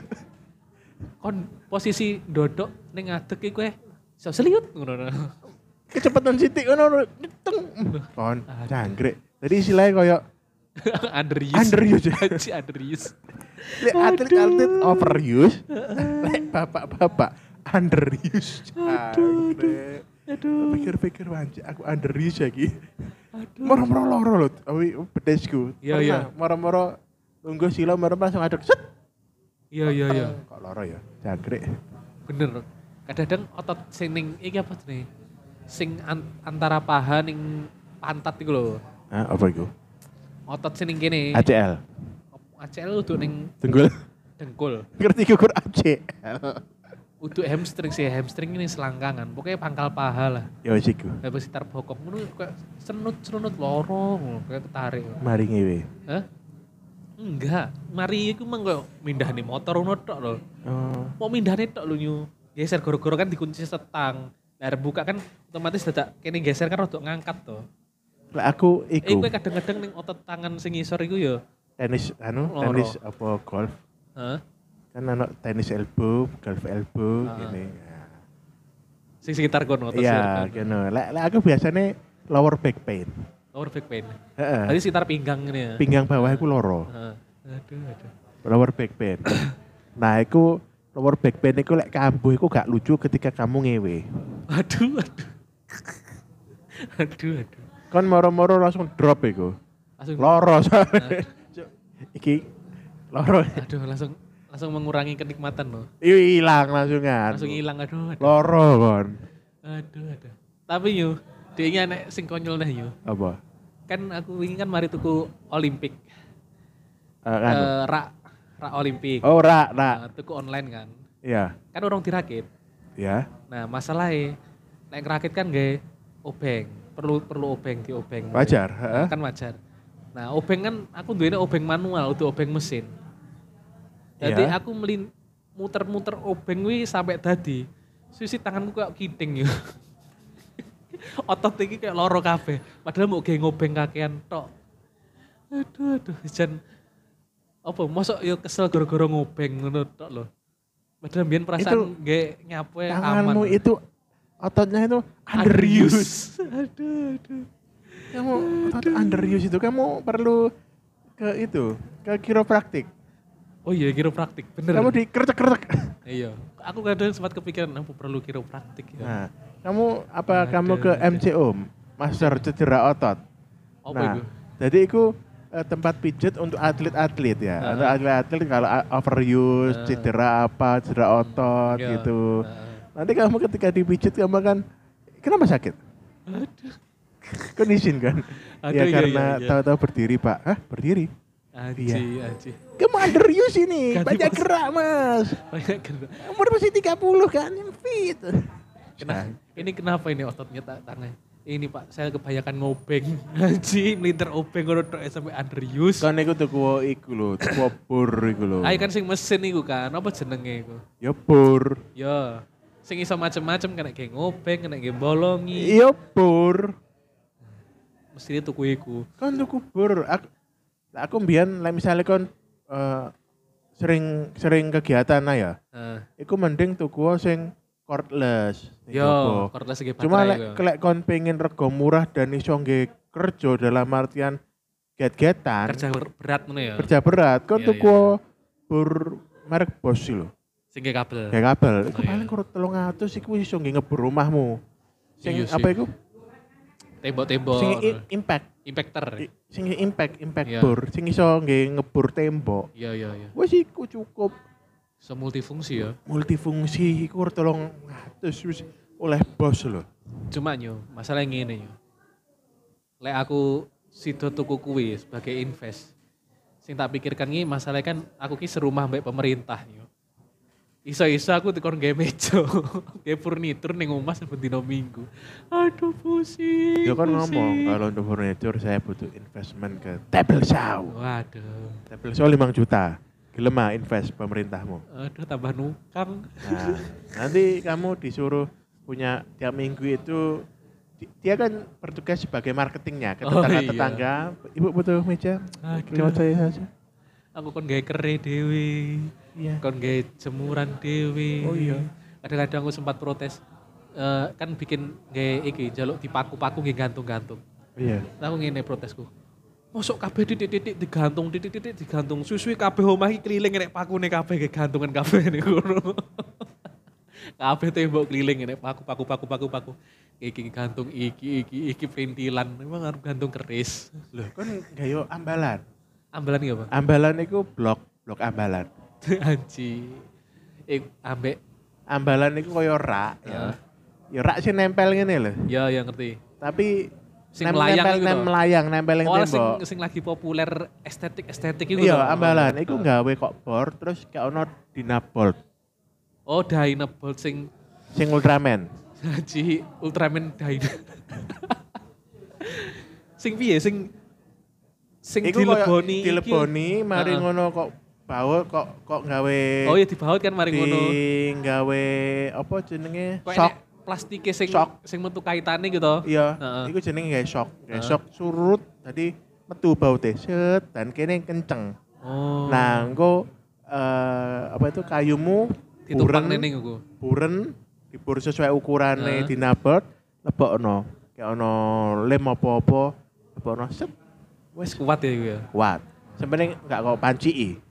Speaker 1: Kon posisi dodok ning ngadeg iku eh iso seliut ngono.
Speaker 3: Kecepatan sithik ngono nyeteng. Kon jangkrik. Jadi istilahnya kayak
Speaker 1: Andrius.
Speaker 3: Underuse.
Speaker 1: Haji Andrius.
Speaker 3: Lek atlet-atlet overuse, lek bapak-bapak underuse.
Speaker 1: Aduh,
Speaker 3: Jangkrik.
Speaker 1: Aduh,
Speaker 3: Pikir-pikir anjir, aku underuse iki.
Speaker 1: aduh.
Speaker 3: Moro-moro loro lho, awi pedesku.
Speaker 1: Iya,
Speaker 3: Pernah
Speaker 1: iya.
Speaker 3: Moro-moro nunggu sila moro langsung aduk. Set.
Speaker 1: Iya iya iya.
Speaker 3: Kok loro ya? Jangkrik.
Speaker 1: bener kadang-kadang otot sing ning iki apa nih sing an- antara paha ning pantat iku lho
Speaker 3: Hah, apa iku?
Speaker 1: otot sing ning kene
Speaker 3: ACL.
Speaker 1: ACL udah ning
Speaker 3: Tunggul.
Speaker 1: dengkul
Speaker 3: Ngerti iku kur ACL.
Speaker 1: udah hamstring sih hamstring ini selangkangan pokoknya pangkal paha lah
Speaker 3: Ya wis iku.
Speaker 1: habis sekitar bokong ngono ya, kayak senut senut lorong kayak ketarik
Speaker 3: Mari ngewe.
Speaker 1: Hah? enggak mari iku mang koyo mindahne motor ngono tok lho
Speaker 3: Oh.
Speaker 1: mau mindahne tok lho nyu geser goro-goro kan dikunci setang Nah, buka kan otomatis dadak kene geser kan rodok ngangkat tuh.
Speaker 3: Lek aku
Speaker 1: Eh,
Speaker 3: iku
Speaker 1: gue kadang-kadang ning otot tangan sing ngisor iku ya.
Speaker 3: tenis anu,
Speaker 1: Loro.
Speaker 3: tenis apa golf.
Speaker 1: Heeh.
Speaker 3: Kan ana tenis elbow, golf elbow
Speaker 1: Ah.
Speaker 3: gini.
Speaker 1: Sing sekitar kono otot kan.
Speaker 3: Iya,
Speaker 1: sekitar.
Speaker 3: gitu. Lek lek aku biasanya lower back pain.
Speaker 1: Lower back pain.
Speaker 3: Heeh.
Speaker 1: Tadi sekitar pinggang ini ya.
Speaker 3: Pinggang bawah aku loro.
Speaker 1: Heeh. Aduh, aduh.
Speaker 3: lower back pain. nah, iku lower back pain iku lek kambuh iku gak lucu ketika kamu ngewe.
Speaker 1: Aduh, aduh. aduh, aduh.
Speaker 3: Kon moro-moro langsung drop iku.
Speaker 1: Langsung
Speaker 3: Loro soalnya. Cuk, Iki loro.
Speaker 1: aduh langsung langsung mengurangi kenikmatan loh.
Speaker 3: Ih, hilang langsung kan.
Speaker 1: Langsung hilang aduh. Aduh
Speaker 3: Loro kon.
Speaker 1: aduh. aduh. Tapi yo, dia nek sing konyol dah yo.
Speaker 3: Apa?
Speaker 1: Kan aku ingin kan mari tuku Olimpik.
Speaker 3: Eh, kan?
Speaker 1: Eh, rak rak Olimpik.
Speaker 3: oh, ra, ra.
Speaker 1: Nah, tuku online kan.
Speaker 3: Iya.
Speaker 1: Kan orang dirakit.
Speaker 3: Ya.
Speaker 1: Nah, masalahnya nek rakit kan gak obeng. Perlu perlu obeng di obeng.
Speaker 3: Wajar, heeh.
Speaker 1: Kan wajar. Nah, obeng kan aku duwene obeng manual untuk obeng mesin. Jadi
Speaker 3: Iya.
Speaker 1: aku melin muter-muter obeng kuwi sampai tadi. Susi tanganku kayak kiting ya. Otot iki kayak loro kabeh. Padahal mau geng obeng kakean tok. Aduh aduh jan apa mosok yo kesel gara-gara ngobeng ngono tok lho. Padahal mbiyen perasaan nggih nyape aman.
Speaker 3: Tanganmu itu ototnya itu underuse.
Speaker 1: Underuse. aduh aduh.
Speaker 3: Kamu otot underuse itu kamu perlu ke itu, ke kiropraktik.
Speaker 1: Oh iya kiropraktik bener. ya?
Speaker 3: Kamu dikercek-kercek.
Speaker 1: Iya, aku kadang sempat kepikiran aku perlu kiropraktik ya.
Speaker 3: Nah, kamu apa
Speaker 1: Ada,
Speaker 3: kamu ke
Speaker 1: ada.
Speaker 3: MCO, Master Cedera Otot.
Speaker 1: Apa
Speaker 3: nah,
Speaker 1: itu?
Speaker 3: jadi itu eh, tempat pijat untuk atlet-atlet ya.
Speaker 1: Heeh.
Speaker 3: Untuk atlet-atlet kalau a- overuse,
Speaker 1: Heeh.
Speaker 3: cedera apa, cedera otot
Speaker 1: Nah. Iya,
Speaker 3: gitu.
Speaker 1: heeh.
Speaker 3: Nanti kamu ketika dipijat kamu akan kenapa sakit? Kondisi kan?
Speaker 1: Aduh,
Speaker 3: ya
Speaker 1: iya,
Speaker 3: karena
Speaker 1: iya, iya.
Speaker 3: tahu-tahu berdiri pak. Hah berdiri?
Speaker 1: Aji,
Speaker 3: iya.
Speaker 1: aji.
Speaker 3: Kamu underuse ini,
Speaker 1: Ganti
Speaker 3: banyak
Speaker 1: pos-
Speaker 3: gerak mas.
Speaker 1: Banyak kena.
Speaker 3: Umur masih 30 kan, yang fit. Nah.
Speaker 1: Kena- Ini kenapa ini ototnya tak tangan? Ini pak, saya kebanyakan ngobeng. Aji, melintir obeng ngono tok sampai underuse.
Speaker 3: Kan iku tuku iku lho, tuku bur iku lho.
Speaker 1: Ayo kan sing mesin iku kan, apa jenenge iku?
Speaker 3: Ya bur.
Speaker 1: Ya, sing iso macem-macem kena ge ngobeng, kena ge bolongi.
Speaker 3: Ya bur.
Speaker 1: Mesti tuku iku.
Speaker 3: Kan tuku bur. Aku, lah aku mbiyen lah misalnya kon eh, sering sering kegiatan nah ya.
Speaker 1: Nah,
Speaker 3: Iku mending tuku sing cordless.
Speaker 1: yo, cordless ge
Speaker 3: Cuma
Speaker 1: baterai
Speaker 3: lek
Speaker 1: iku.
Speaker 3: lek kon pengen rego murah dan iso nggih kerja dalam artian get-getan, kerja,
Speaker 1: kerja ber- berat ngono ya.
Speaker 3: berat, kon
Speaker 1: Iya,
Speaker 3: tuku bur merek Bosch lho.
Speaker 1: Sing ge kabel.
Speaker 3: Kayak kabel. Iku
Speaker 1: Oh, iya.
Speaker 3: paling kurang telung atus iku iso nggih ngebur rumahmu. Sing
Speaker 1: Iya sih.
Speaker 3: apa iku?
Speaker 1: Tembok-tembok.
Speaker 3: Sing i- impact.
Speaker 1: Impactor.
Speaker 3: I- Sing impact, impact
Speaker 1: Iya.
Speaker 3: bur. Sing iso nggih ngebur tembok.
Speaker 1: Iya, iya, iya.
Speaker 3: Wes iku cukup
Speaker 1: So multifungsi ya.
Speaker 3: multifungsi iku kurang telung atus wis oleh bos lho.
Speaker 1: Cuma yo, masalah yang ini yo. Lek aku sido tuku kuwi sebagai invest. Sing tak pikirkan ini masalahnya kan aku ki serumah mbek pemerintah yo. Iso-iso aku tukar nggak meja, nggak furnitur ning omah saben dina minggu. Aduh pusing.
Speaker 3: Ya kan
Speaker 1: pusing.
Speaker 3: ngomong kalau untuk furniture saya butuh investment ke table saw.
Speaker 1: Waduh,
Speaker 3: Table saw 5 juta. Gelem ah invest pemerintahmu.
Speaker 1: aduh tambah nukang.
Speaker 3: Nah, nanti kamu disuruh punya tiap minggu itu di- dia kan bertugas sebagai marketingnya ke
Speaker 1: Oh, iya.
Speaker 3: tetangga-tetangga. Ibu butuh meja?
Speaker 1: Aduh.
Speaker 3: Lewat saya saja.
Speaker 1: Aku kon gawe kere dewi,
Speaker 3: Iya.
Speaker 1: kon gawe jemuran dewi.
Speaker 3: Oh iya.
Speaker 1: Kadang-kadang aku sempat protes, eh, kan bikin gawe iki jaluk dipaku-paku nggih gantung-gantung.
Speaker 3: Iya.
Speaker 1: Lah aku ngene protesku. Mosok kabeh titik-titik digantung, titik-titik digantung. Susu kabeh omah iki keliling nek pakune kabeh nggih gantungan kabeh niku. kabeh tembok keliling nek paku paku paku paku paku. Iki gantung iki iki iki perintilan. Memang harus gantung keris.
Speaker 3: Loh, kan gayo ambalan.
Speaker 1: Ambelan nggih, Pak?
Speaker 3: Ambalan itu blok, blok ambalan.
Speaker 1: Anji. Eh, ambek.
Speaker 3: Ambalan itu koyo rak ya.
Speaker 1: Ah.
Speaker 3: Ya rak sih nempel ngene lho.
Speaker 1: Ya, ya ngerti.
Speaker 3: Tapi
Speaker 1: Sing
Speaker 3: nem-
Speaker 1: melayang
Speaker 3: nempel,
Speaker 1: itu
Speaker 3: nem-
Speaker 1: toh?
Speaker 3: melayang, nempel ning
Speaker 1: Oh, sing,
Speaker 3: tembok.
Speaker 1: sing lagi populer estetik-estetik itu.
Speaker 3: Iya,
Speaker 1: toh?
Speaker 3: ambalan. Iku nggawe kok bor terus kayak ono dinabolt
Speaker 1: Oh, Dynabolt sing
Speaker 3: sing Ultraman.
Speaker 1: Haji Ultraman Dino. sing piye sing sing
Speaker 3: Iku koyo
Speaker 1: dileboni iki.
Speaker 3: dileboni mari
Speaker 1: Heeh.
Speaker 3: ngono kok baut kok kok nggawe
Speaker 1: Oh iya dibaut kan mari
Speaker 3: di
Speaker 1: ngono.
Speaker 3: nggawe apa jenenge
Speaker 1: Kok
Speaker 3: sok
Speaker 1: enek plastike sing
Speaker 3: Sok.
Speaker 1: sing metu kaitane gitu.
Speaker 3: iya
Speaker 1: Heeh.
Speaker 3: iku jenenge nggawe sok nggawe sok surut dadi metu baute set dan kene kenceng
Speaker 1: Oh.
Speaker 3: nah engko eh, apa itu kayumu buren-
Speaker 1: ditumpang neneng iku.
Speaker 3: buren dibur sesuai ukurane
Speaker 1: Heeh.
Speaker 3: dinabot lebokno kayak ono lem apa-apa lebokno set
Speaker 1: Wis kuat ya iku ya.
Speaker 3: kuat sebenarnya nggak kok pancii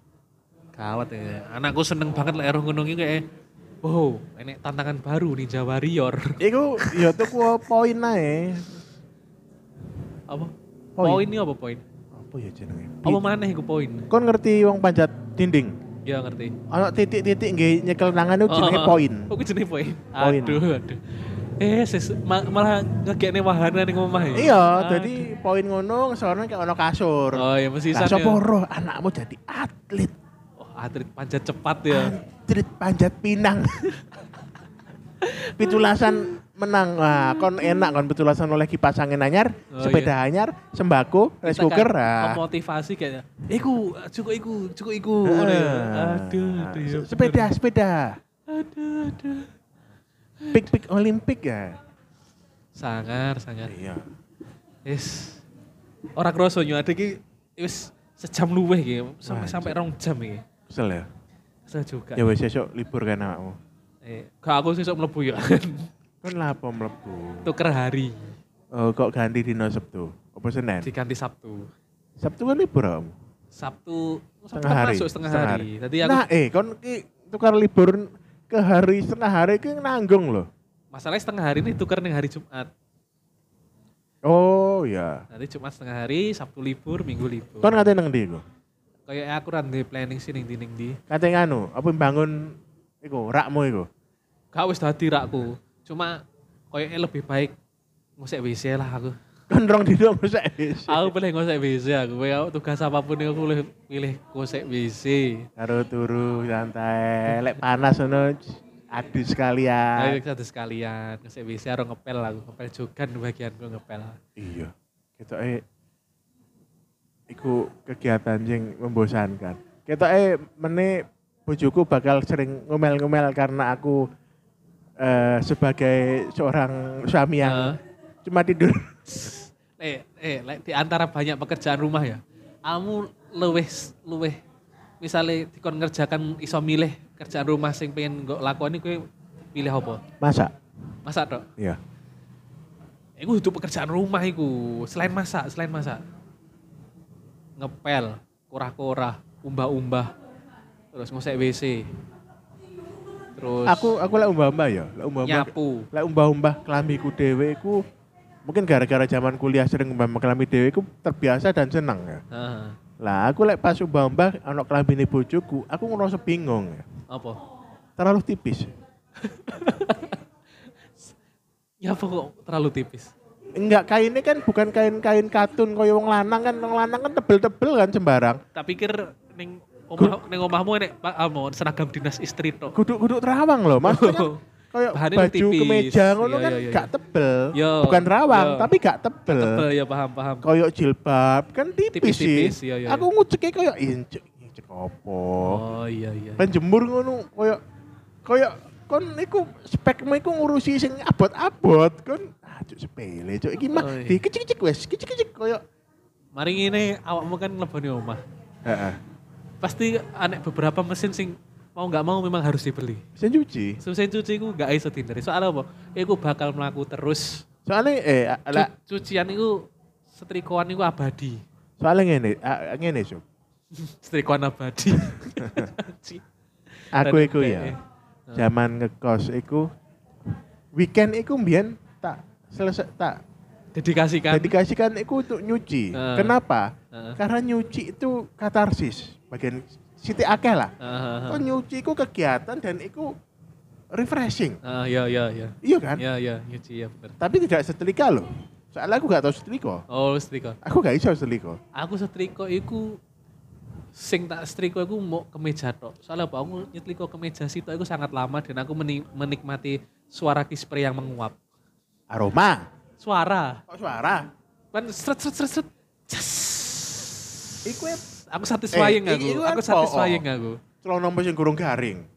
Speaker 1: Kawat ya. Anakku seneng banget lek roh ngono iki kayak wow, enek tantangan baru Ninja Warrior.
Speaker 3: Iku ya tuh ku poin ae.
Speaker 1: apa?
Speaker 3: Poin.
Speaker 1: Poin ini apa poin?
Speaker 3: Apa ya jenenge?
Speaker 1: Apa maneh iku poin?
Speaker 3: Kon ngerti wong panjat dinding?
Speaker 1: Ya ngerti.
Speaker 3: Anak titik-titik nggih nyekel tangan itu jenenge
Speaker 1: Oh, oh.
Speaker 3: poin.
Speaker 1: Oh, kuwi jenenge poin.
Speaker 3: Poin.
Speaker 1: Aduh, aduh. Eh, ses, ma- malah ngegekne wahana ning omah ya.
Speaker 3: Iya,
Speaker 1: Aduh.
Speaker 3: jadi poin ngono soalnya kayak ono kasur.
Speaker 1: Oh, ya mesti
Speaker 3: Lah sapa roh anakmu jadi atlet.
Speaker 1: Oh, atlet panjat cepat
Speaker 3: Ah,
Speaker 1: ya.
Speaker 3: Atlet panjat pinang. pitulasan menang. Wah, kon enak kon pitulasan oleh kipas angin anyar,
Speaker 1: Oh,
Speaker 3: sepeda anyar, sembako, rice
Speaker 1: Kita kan
Speaker 3: cooker. ah.
Speaker 1: Memotivasi kayaknya. Iku, cukup iku, cukup iku. Ngono ya.
Speaker 3: Ah.
Speaker 1: Aduh, aduh. ya
Speaker 3: sepeda,
Speaker 1: bener.
Speaker 3: sepeda.
Speaker 1: Aduh, aduh.
Speaker 3: Pik-pik olimpik ya.
Speaker 1: Sangar, sangar.
Speaker 3: Iya.
Speaker 1: Yes. Ora kroso nyu ada iki wis sejam luweh iki, sampai
Speaker 3: Wah,
Speaker 1: sampai rong jam iki.
Speaker 3: Kesel ya.
Speaker 1: Kesel juga.
Speaker 3: Ya wis sesuk libur kan awakmu.
Speaker 1: Eh, kalau aku sesuk mlebu ya.
Speaker 3: Kon lapo mlebu?
Speaker 1: Tuker hari
Speaker 3: Oh, kok ganti dino Sabtu? Apa Senin?
Speaker 1: diganti Sabtu.
Speaker 3: Sabtu kan libur kamu.
Speaker 1: Sabtu Sabtu
Speaker 3: Setengah
Speaker 1: kan
Speaker 3: hari.
Speaker 1: masuk setengah, hari. Tadi aku
Speaker 3: Nah, eh kon ki tukar libur ke hari setengah hari ki nanggung loh.
Speaker 1: masalahnya setengah hari ini tuker ning hari Jumat.
Speaker 3: Oh ya.
Speaker 1: Nanti Jumat setengah hari, Sabtu libur, Minggu libur.
Speaker 3: Kon katanya nang ndi iku?
Speaker 1: Kayak aku ra nduwe planning sih ning di ning di.
Speaker 3: Katanya anu, apa bangun iku rakmu iku.
Speaker 1: Gak wis dadi rakku. Cuma kayaknya lebih baik ngosek WC lah aku.
Speaker 3: Kon rong dino mesti wis.
Speaker 1: aku pilih ngosek WC aku. Kayak aku tugas apapun yang aku pilih, pilih ngosek WC.
Speaker 3: Karo turu santai, lek panas ngono adu
Speaker 1: Ayo
Speaker 3: sekalian.
Speaker 1: satu sekalian ngosek WC harus ngepel aku. Ngepel juga bagian gue ngepel.
Speaker 3: Iya. Ketoke iku kegiatan yang membosankan. Ketoke mene bojoku bakal sering ngomel-ngomel karena aku eh, sebagai seorang suami yang
Speaker 1: Heeh.
Speaker 3: cuma tidur.
Speaker 1: eh, eh, like, di antara banyak pekerjaan rumah ya, kamu luweh, luweh, misalnya dikon ngerjakan iso milih kerjaan rumah sing pengen gue lakoni kowe pilih apa?
Speaker 3: Masak.
Speaker 1: Masak dok?
Speaker 3: Iya.
Speaker 1: Iku itu pekerjaan rumah iku, selain masak, selain masak. Ngepel, kurah-kurah, umbah-umbah, terus ngosek WC. Terus
Speaker 3: Aku aku lek umbah-umbah ya, lek umbah-umbah.
Speaker 1: nyapu.
Speaker 3: Lek umbah-umbah kelambiku dhewe iku mungkin gara-gara zaman kuliah sering umbah-umbah kelambi dhewe iku terbiasa dan seneng ya.
Speaker 1: Nah,
Speaker 3: Lah aku lek pas umbah-umbah ana kelambine bojoku, aku ngerasa bingung ya.
Speaker 1: apa?
Speaker 3: Terlalu tipis.
Speaker 1: Nyapu kok terlalu tipis.
Speaker 3: Enggak, kainnya kan bukan kain-kain katun kaya wong lanang kan, wong lanang kan tebel-tebel kan sembarang.
Speaker 1: tak pikir ning omah ning omahmu enek Pak Amon seragam dinas istri tok.
Speaker 3: Guduk-guduk terawang loh, maksudnya kan kayak
Speaker 1: Bahannya
Speaker 3: baju
Speaker 1: tipis.
Speaker 3: kemeja ngono
Speaker 1: Iya,
Speaker 3: kan
Speaker 1: iya, iya.
Speaker 3: gak tebel.
Speaker 1: Yo,
Speaker 3: bukan rawang,
Speaker 1: yo.
Speaker 3: tapi gak tebel.
Speaker 1: Tebel ya paham paham.
Speaker 3: Kayak jilbab kan tipis,
Speaker 1: Tipis-tipis,
Speaker 3: sih.
Speaker 1: iya, iya,
Speaker 3: Aku nguceknya kayak incek, incek opo.
Speaker 1: Oh iya iya.
Speaker 3: Penjemur Kan ngono kayak kayak kon iku spekmu iku ngurusi sing abot-abot kon ah cuk sepele cuk iki mah
Speaker 1: Oh, iya.
Speaker 3: dikecik-kecik wes kecik-kecik koyo
Speaker 1: Mari ngene awakmu kan leboni omah.
Speaker 3: heeh
Speaker 1: Pasti anek beberapa mesin sing mau nggak mau memang harus dibeli.
Speaker 3: bisa cuci
Speaker 1: Susah cuci ku nggak iso dihindari. Soalnya apa? Iku bakal melaku terus.
Speaker 3: soalnya eh
Speaker 1: Cu-
Speaker 3: ala,
Speaker 1: cucian iku setrikoan iku abadi.
Speaker 3: soalnya ngene a- ngene Sob.
Speaker 1: setrikoan abadi. Ci.
Speaker 3: aku
Speaker 1: Tadi
Speaker 3: iku
Speaker 1: kayak,
Speaker 3: ya
Speaker 1: Oh.
Speaker 3: zaman ngekos iku weekend iku mbiyen tak selesai tak
Speaker 1: Dedikasikan.
Speaker 3: dedikasikan iku untuk nyuci
Speaker 1: Kan? Heeh.
Speaker 3: kenapa
Speaker 1: Heeh.
Speaker 3: karena nyuci itu katarsis bagian siti akeh lah
Speaker 1: Heeh, heeh.
Speaker 3: Kok nyuci iku kegiatan dan iku refreshing
Speaker 1: Ah ya ya ya.
Speaker 3: iya kan
Speaker 1: Ya ya nyuci ya bener.
Speaker 3: tapi tidak setrika loh soalnya aku gak tahu setrika
Speaker 1: Oh setrika.
Speaker 3: aku gak iso setrika
Speaker 1: aku setrika iku sing tak setrika iku mau kemeja tok. Soalnya apa aku nyetrika kemeja situ iku sangat lama dan aku meni- menikmati suara kispre yang menguap.
Speaker 3: aroma
Speaker 1: Suara.
Speaker 3: kok suara
Speaker 1: Kan seret seret seret seret. Jas.
Speaker 3: iku e
Speaker 1: Aku satisfying
Speaker 3: Eh,
Speaker 1: aku.
Speaker 3: i- iku kan
Speaker 1: Aku satisfying
Speaker 3: poo.
Speaker 1: aku.
Speaker 3: celana apa sing gurung garing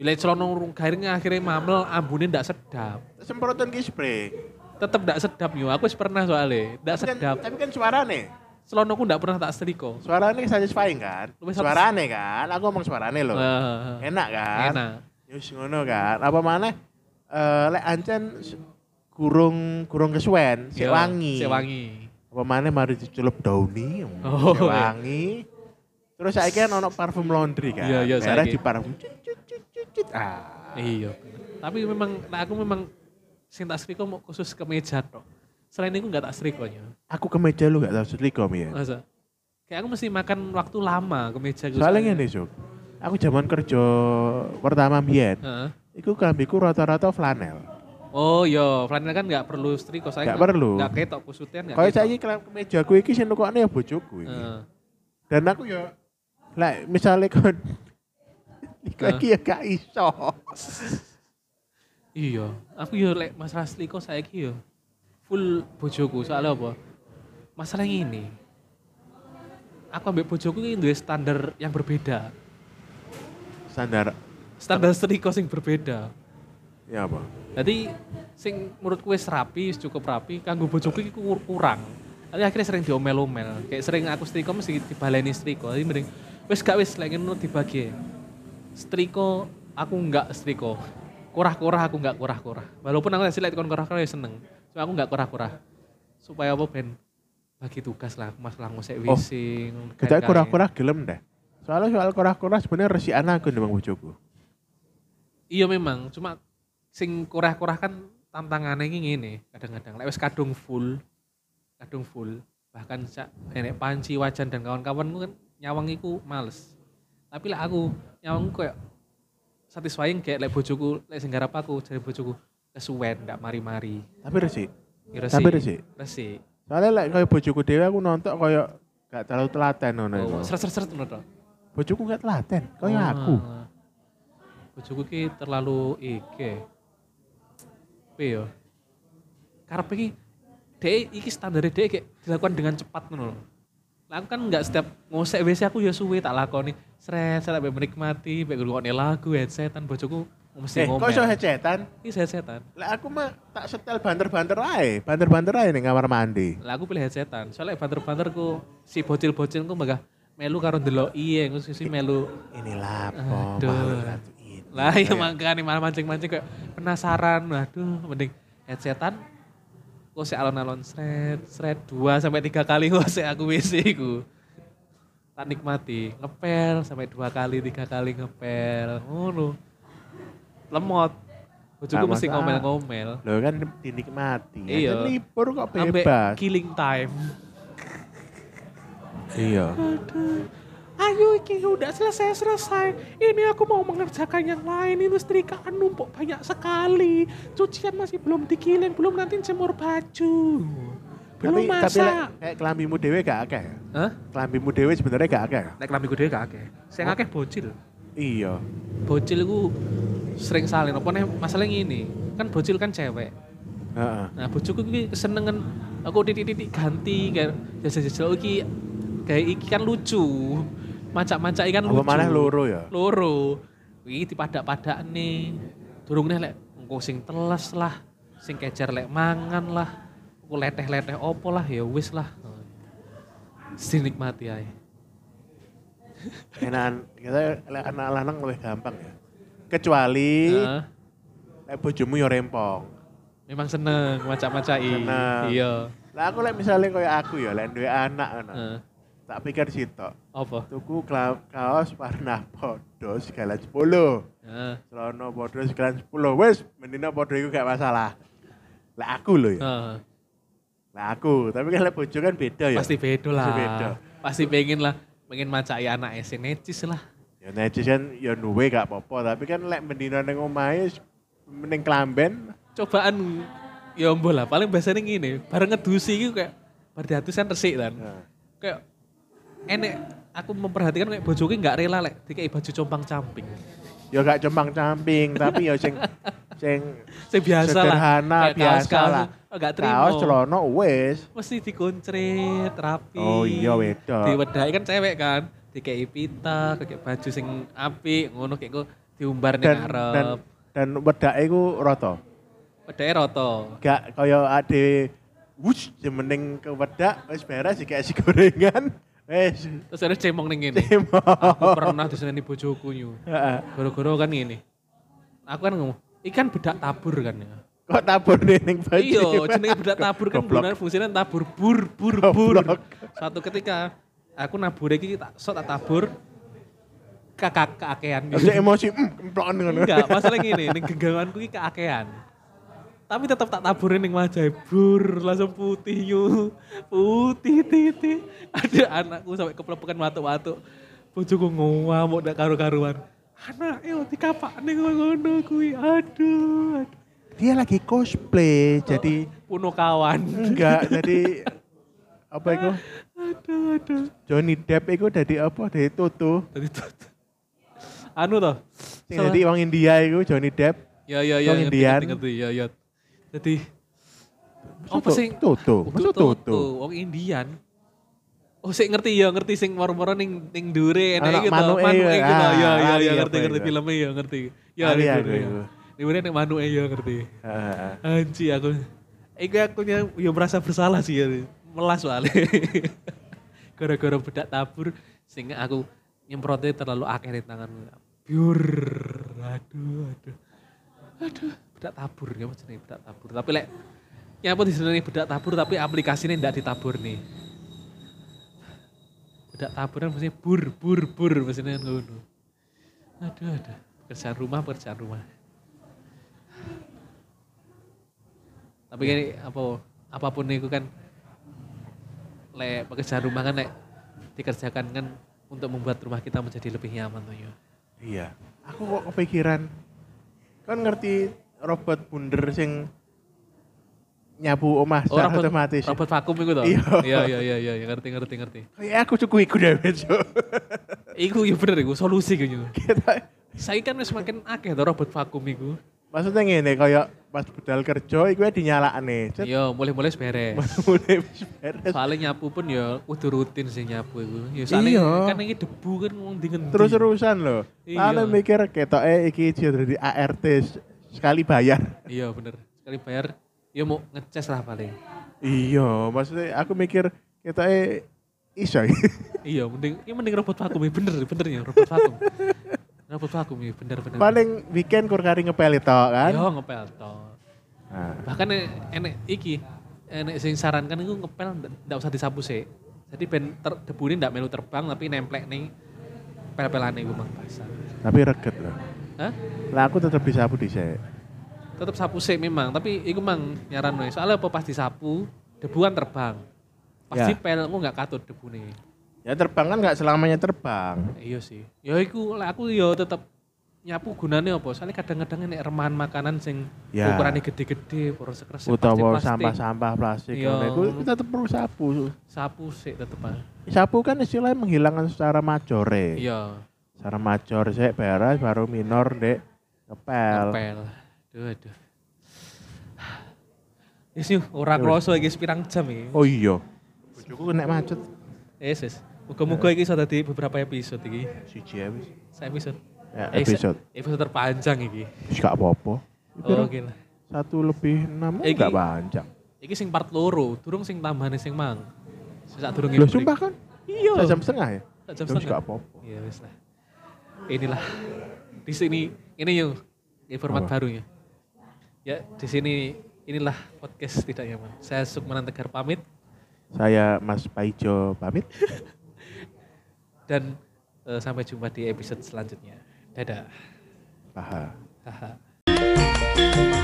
Speaker 1: Bila celana urung garingnya akhirnya mamel ambune ndak sedap.
Speaker 3: semprotan ki spray
Speaker 1: Tetep ndak sedap yo. Aku wis pernah soalnya ndak
Speaker 3: Tapi kan-
Speaker 1: sedap.
Speaker 3: tapi kan suarane.
Speaker 1: Celonaku ndak pernah tak setrika.
Speaker 3: Suarane satisfying kan?
Speaker 1: Lebih satis-
Speaker 3: Suarane kan? Aku ngomong suarane loh.
Speaker 1: Eh,
Speaker 3: Enak kan?
Speaker 1: Enak.
Speaker 3: Yus ngono kan. Apa mana? Eh lek ancen s- gurung gurung kesuwen, sik
Speaker 1: Yo,
Speaker 3: wangi.
Speaker 1: Iya, Sik wangi.
Speaker 3: Apa mana mari dicelup dauni,
Speaker 1: Oh,
Speaker 3: sik
Speaker 1: iya.
Speaker 3: wangi. Terus saiki kan ono parfum laundry kan.
Speaker 1: Iya, iya,
Speaker 3: Daerah
Speaker 1: saiki.
Speaker 3: di parfum. Cut, cut, cut, cut, cut. Ah.
Speaker 1: Iya. Tapi memang, nah aku memang sing tak setrika mau khusus kemeja tok. Selain itu nggak tak setrikanya.
Speaker 3: Aku ke meja
Speaker 1: Ah, iya,
Speaker 3: lu gak tau setrika ya.
Speaker 1: Masa? Kayak aku mesti makan waktu lama kemeja.
Speaker 3: Soalnya ngene, Sok. Aku zaman kerja pertama biyen,
Speaker 1: Heeh.
Speaker 3: iku kambiku rata-rata flanel.
Speaker 1: Oh iya, flanel kan nggak perlu setrika saya.
Speaker 3: Nggak perlu.
Speaker 1: Nggak ketok kusutan nggak.
Speaker 3: Kaya
Speaker 1: ketok. Eh,
Speaker 3: saiki kelam kemejaku iki sing nukokne ya bojoku iki.
Speaker 1: Heeh.
Speaker 3: Dan aku ya lek misale kon iku
Speaker 1: Heeh.
Speaker 3: iki ya gak iso.
Speaker 1: Iya, aku yo lek masalah setrika saiki yo iya. full bojoku soalnya apa? Masalah ini. Aku ambek bojoku ini duwe standar yang berbeda.
Speaker 3: Standar
Speaker 1: Standar setrika sing berbeda.
Speaker 3: ya apa?
Speaker 1: Jadi sing menurut wis rapi, wis cukup rapi, kanggo bojoku iki kur- kurang. Tapi akhirnya sering diomel-omel. Kayak sering aku setrika mesti dibaleni setrika. Jadi mending wis gak wis lek ngono dibagi. Setrika aku enggak setrika. Kurah-kurah aku enggak kurah-kurah. Walaupun aku sih lek kon kurah-kurah ya seneng. Cuma aku enggak kurah-kurah. Supaya apa ben bagi tugas lah, Mas lah ngosek
Speaker 3: Oh,
Speaker 1: WC. ngono,
Speaker 3: Kita
Speaker 1: kae-kae.
Speaker 3: kurah-kurah gelem deh. Soalnya soal kurah-kurah sebenarnya resikan aku ndang bojoku.
Speaker 1: Iya memang, cuma sing kurah-kurah kan tantangannya ini ngene kadang-kadang. Lek wis kadung full, kadung full, bahkan sak enek panci wajan dan kawan-kawanku kan nyawang iku males. Tapi lek aku nyawang kayak satisfying kayak lek bojoku, lek sing garap aku jadi bojoku kesuwen ndak mari-mari.
Speaker 3: Tapi resik.
Speaker 1: Ya resik.
Speaker 3: Tapi resik.
Speaker 1: Resik.
Speaker 3: Soalnya lek kaya bojoku dhewe aku nonton kaya gak terlalu telaten ngono iku.
Speaker 1: Oh, seret-seret menurut aku.
Speaker 3: Bojoku gak telaten, kaya ya aku.
Speaker 1: Ah. Bojoku ki terlalu iki. Piye yo? Karepe ki dhek iki standare dhek kayak dilakukan dengan cepat ngono lho. Lah aku kan enggak setiap ngosek WC aku ya suwe tak lakoni. Sret, sret ben menikmati, ben ngrungokne lagu headsetan bojoku
Speaker 3: Eh,
Speaker 1: mesti
Speaker 3: kok iso
Speaker 1: ngomel.
Speaker 3: hecetan?
Speaker 1: Iki headsetan.
Speaker 3: Lah aku mah tak setel banter-banter ae, banter-banter ae ning kamar mandi.
Speaker 1: Lah aku pilih headsetan. Soalnya banter-banter ku si bocil-bocil ku megah melu karo ndelok iye, ku sisi melu
Speaker 3: Inilah po
Speaker 1: Aduh.
Speaker 3: maklumat ini.
Speaker 1: Lah iya makanya malah mancing-mancing kayak penasaran. Waduh, mending headsetan. Kok si alon-alon sret, sret dua sampai tiga kali kok si aku WC ku. Tak nikmati, ngepel sampai dua kali, tiga kali ngepel. Ngono. Lemot. Bojoku
Speaker 3: Nah,
Speaker 1: mesti
Speaker 3: masalah.
Speaker 1: ngomel-ngomel.
Speaker 3: Lo kan dinikmati.
Speaker 1: Iya.
Speaker 3: Kan libur kok
Speaker 1: Sampai
Speaker 3: bebas.
Speaker 1: killing time.
Speaker 3: Iya.
Speaker 1: Aduh. Ayo iki udah selesai-selesai. Ini aku mau mengerjakan yang lain. Ini setrikaan numpuk banyak sekali. Cucian masih belum dikirim, belum nanti jemur baju. Belum
Speaker 3: Tapi tapi
Speaker 1: masak.
Speaker 3: lek kayak kelambimu dhewe gak akeh. ya?
Speaker 1: Hah?
Speaker 3: Kelambimu dhewe sebenarnya gak akeh. ya?
Speaker 1: Nek kelambi gede gak akeh. Sing akeh bocil.
Speaker 3: Iya.
Speaker 1: Oh. Bocil ku sering salin apa nih masalah ini. Kan bocil kan cewek.
Speaker 3: Heeh.
Speaker 1: Nah, bojoku kuwi kesenengan aku titik-titik ganti kayak jajal-jajal iki kayak iki kan lucu. Macak-macak ikan
Speaker 3: Apa
Speaker 1: lucu.
Speaker 3: maneh loro ya?
Speaker 1: loro iki dipadak-padak nih durungne lek engko sing teles lah sing kejar lek mangan lah engko leteh-leteh opo lah ya wis lah sinikmati ae
Speaker 3: Enakan kita lek anak lanang lebih gampang ya. Kecuali
Speaker 1: Heeh.
Speaker 3: lek bojomu yo rempong.
Speaker 1: memang seneng macam-macai
Speaker 3: Seneng.
Speaker 1: iya
Speaker 3: Lah aku lek misalnya kaya aku ya lek duwe anak ngono.
Speaker 1: Heeh.
Speaker 3: Tak pikir sitok.
Speaker 1: apa
Speaker 3: Tuku kla- kaos warna podo segala 10.
Speaker 1: Heeh.
Speaker 3: Celana podo sekalian 10. Wis, mendina podo iku gak masalah. Lah aku loh ya.
Speaker 1: Heeh.
Speaker 3: Lah aku, tapi kan lek bojo kan beda ya.
Speaker 1: pasti beda lah
Speaker 3: Pasti beda.
Speaker 1: pasti pengen lah pengen macai anak sing necis lah
Speaker 3: Ya necis kan ya duwe gak apa-apa, tapi kan lek mendina ning omahe s- ning klamben
Speaker 1: cobaan ya ombo lah paling biasanya gini bareng ngedusi gitu kayak berdatusan resik kan
Speaker 3: Nah.
Speaker 1: kayak enek aku memperhatikan kayak bojoku nggak rela lek dikai baju compang camping
Speaker 3: ya gak cempang-camping, tapi ya sing sing
Speaker 1: saya biasa
Speaker 3: sederhana
Speaker 1: lah kayak oh,
Speaker 3: biasa
Speaker 1: kaos-kaos
Speaker 3: lah.
Speaker 1: nggak terima
Speaker 3: Kaos celana wis.
Speaker 1: mesti dikoncret rapi
Speaker 3: Oh iya, wedok.
Speaker 1: diwedai kan cewek kan dikai pita kayak baju sing apik ngono kayak gue diumbar
Speaker 3: Dan
Speaker 1: nih
Speaker 3: dan
Speaker 1: ngarep
Speaker 3: dan wedake iku rata.
Speaker 1: wedai roto
Speaker 3: Gak kaya ade wush jemening ke wedak wis beres dikasih gorengan. Wis.
Speaker 1: terus ada cemong nih gini aku
Speaker 3: Timo.
Speaker 1: pernah diseneni bojoku nyu
Speaker 3: Heeh.
Speaker 1: Goro-goro kan gini. Aku kan ngomong, ikan bedak tabur kan ya.
Speaker 3: Kok tabur ning baju?
Speaker 1: Iya, jenenge bedak tabur kan
Speaker 3: Goblok.
Speaker 1: benar fungsinya tabur bur bur bur.
Speaker 3: Goblok.
Speaker 1: Suatu ketika aku nabur iki tak sok tak tabur kakak keakean.
Speaker 3: Terus dia emosi, mm, kemplokan ngono.
Speaker 1: Enggak, masalah gini, ning genggamanku iki keakean. Tapi tetap tak taburin ning wajah bur, langsung putih yu. Putih titi. Ada anakku sampai keplepekan watuk-watuk. bojoku ngomong ndak karu-karuan. Anak yo dikapakne kok ngono kuwi. Aduh. aduh.
Speaker 3: Dia lagi
Speaker 1: Oh.
Speaker 3: cosplay, jadi
Speaker 1: Puno kawan.
Speaker 3: enggak, jadi apa itu?
Speaker 1: Aduh, aduh.
Speaker 3: Johnny Depp itu dari apa? Dari Toto.
Speaker 1: Tadi tuh. Anu toh.
Speaker 3: Sing Jadi orang India itu Johnny Depp.
Speaker 1: Ya ya ya.
Speaker 3: Wong
Speaker 1: ngerti,
Speaker 3: Indian.
Speaker 1: ngerti, ngerti, Ya ya. Jadi
Speaker 3: Masa
Speaker 1: apa
Speaker 3: to-
Speaker 1: sing
Speaker 3: Toto? Masa Toto?
Speaker 1: Wong Indian. Oh, sik ngerti ya, ngerti sing moro-moro ning ning dure
Speaker 3: Anak
Speaker 1: enek gitu.
Speaker 3: manuke
Speaker 1: Manuke
Speaker 3: ya.
Speaker 1: gitu. Ya
Speaker 3: Ah,
Speaker 1: ya
Speaker 3: lali
Speaker 1: ya
Speaker 3: apa
Speaker 1: ngerti
Speaker 3: itu?
Speaker 1: ngerti
Speaker 3: Ah, iya,
Speaker 1: filmnya ya ngerti. Ya
Speaker 3: Lali
Speaker 1: ning
Speaker 3: aku
Speaker 1: dure. ya.
Speaker 3: itu.
Speaker 1: Ning dure nek manuke ya ngerti.
Speaker 3: Heeh.
Speaker 1: Anji aku. Iku aku nya ya merasa bersalah sih ya. Melas soalnya. Gara-gara bedak tabur sehingga aku nyemprotnya terlalu akeh di tanganku. Biur. Aduh, aduh. Aduh, bedak tabur ya maksudnya bedak tabur. Tapi lek nyapa di sini bedak tabur tapi aplikasinya ndak ditabur nih. Bedak taburan maksudnya bur bur bur maksudnya ngono. Aduh, aduh. Pekerjaan rumah, pekerjaan rumah. Tapi kan apa apapun itu kan le pekerjaan rumah kan lek dikerjakan kan untuk membuat rumah kita menjadi lebih nyaman tuh ya.
Speaker 3: Iya. Aku kok kepikiran. Kan ngerti robot bunder sing nyapu omah secara otomatis.
Speaker 1: Oh, robot vakum itu toh.
Speaker 3: Iya.
Speaker 1: Iya iya iya iya iya, ngerti ngerti ngerti.
Speaker 3: Kayak aku cukup iku dhewe, Cuk.
Speaker 1: Iku ya bener iku solusi gitu.
Speaker 3: Kita-
Speaker 1: Saya kan wis makin akeh toh robot vakum iku.
Speaker 3: Maksudnya ngene kayak pas budal kerja iku ya dinyalakne. Cet,
Speaker 1: Iya, mulai-mulai wis beres.
Speaker 3: mulai wis beres.
Speaker 1: Soalnya nyapu pun ya kudu rutin sih nyapu iku. Ya soalnya
Speaker 3: Iya.
Speaker 1: kan ini debu kan ngomong dingin.
Speaker 3: Terus-terusan loh.
Speaker 1: Iya.
Speaker 3: Lalu mikir ketoke iki jadi ART sekali bayar.
Speaker 1: Iya bener. Sekali bayar ya mau ngeces lah paling.
Speaker 3: Iya, maksudnya aku mikir kita eh iso.
Speaker 1: Iya, mending ya mending robot vakum ya bener bener ya robot vakum. robot vakum ya bener bener.
Speaker 3: Hmm. Paling weekend kur kari ngepel itu kan.
Speaker 1: Yo ngepel toh.
Speaker 3: Nah,
Speaker 1: Bahkan e- enek iki enek sing sarankan iku ngepel nda- ndak usah disapu sih. Jadi ben ter, debune ndak melu terbang tapi nemplek nih pel-pelane iku mang basah.
Speaker 3: tapi reget loh.
Speaker 1: Hah?
Speaker 3: Lah aku tetap disapu dhisik.
Speaker 1: Tetep sapu sih memang, tapi iku mang nyaran wae. Soalnya apa pas disapu debuan terbang.
Speaker 3: Ya.
Speaker 1: Pas dipel aku nggak katut debune.
Speaker 3: Ya terbang kan nggak selamanya terbang.
Speaker 1: Iya sih. Ya iku lah aku ya tetep nyapu gunane apa? Soalnya kadang-kadang nek remahan makanan sing
Speaker 3: Ya.
Speaker 1: ukurane gede-gede, poros keres
Speaker 3: Utawa
Speaker 1: plastik-plastik,
Speaker 3: sampah-sampah plastik.
Speaker 1: Iya.
Speaker 3: ngono iku Kita tetap perlu sapu.
Speaker 1: sapu sih tetep ah.
Speaker 3: Sapu kan istilahnya menghilangkan secara majore.
Speaker 1: Iya,
Speaker 3: Secara major sik beres baru minor dek ngepel.
Speaker 1: ngepel. Aduh aduh. Yes, yuk, ora kroso iki pirang jam iki.
Speaker 3: Oh iya. Bojoku kena macet.
Speaker 1: Yes, yes. Muga-muga iki iso dadi beberapa episode iki.
Speaker 3: Siji ae wis.
Speaker 1: Saya episode.
Speaker 3: Ya,
Speaker 1: Eh, se-
Speaker 3: episode.
Speaker 1: episode terpanjang iki.
Speaker 3: Wis gak apa-apa.
Speaker 1: Oh, oke lah.
Speaker 3: Satu lebih enam
Speaker 1: Eh,
Speaker 3: enggak
Speaker 1: iki-
Speaker 3: panjang.
Speaker 1: Iki sing part loro, durung sing tambahane sing mang. Sak durunge.
Speaker 3: Loh
Speaker 1: break.
Speaker 3: sumpah kan?
Speaker 1: Iya.
Speaker 3: Sak jam setengah ya?
Speaker 1: Sak
Speaker 3: Loh,
Speaker 1: jam
Speaker 3: wis
Speaker 1: setengah.
Speaker 3: gak apa-apa.
Speaker 1: Ya wis lah. Inilah di sini ini yuk ini format
Speaker 3: Apa?
Speaker 1: barunya. Ya di sini inilah podcast tidak nyaman. Saya Sukmanan Tegar pamit
Speaker 3: Saya Mas Paijo pamit.
Speaker 1: dan eh, sampai jumpa di episode selanjutnya. Dadah.
Speaker 3: Aha.
Speaker 1: Haha.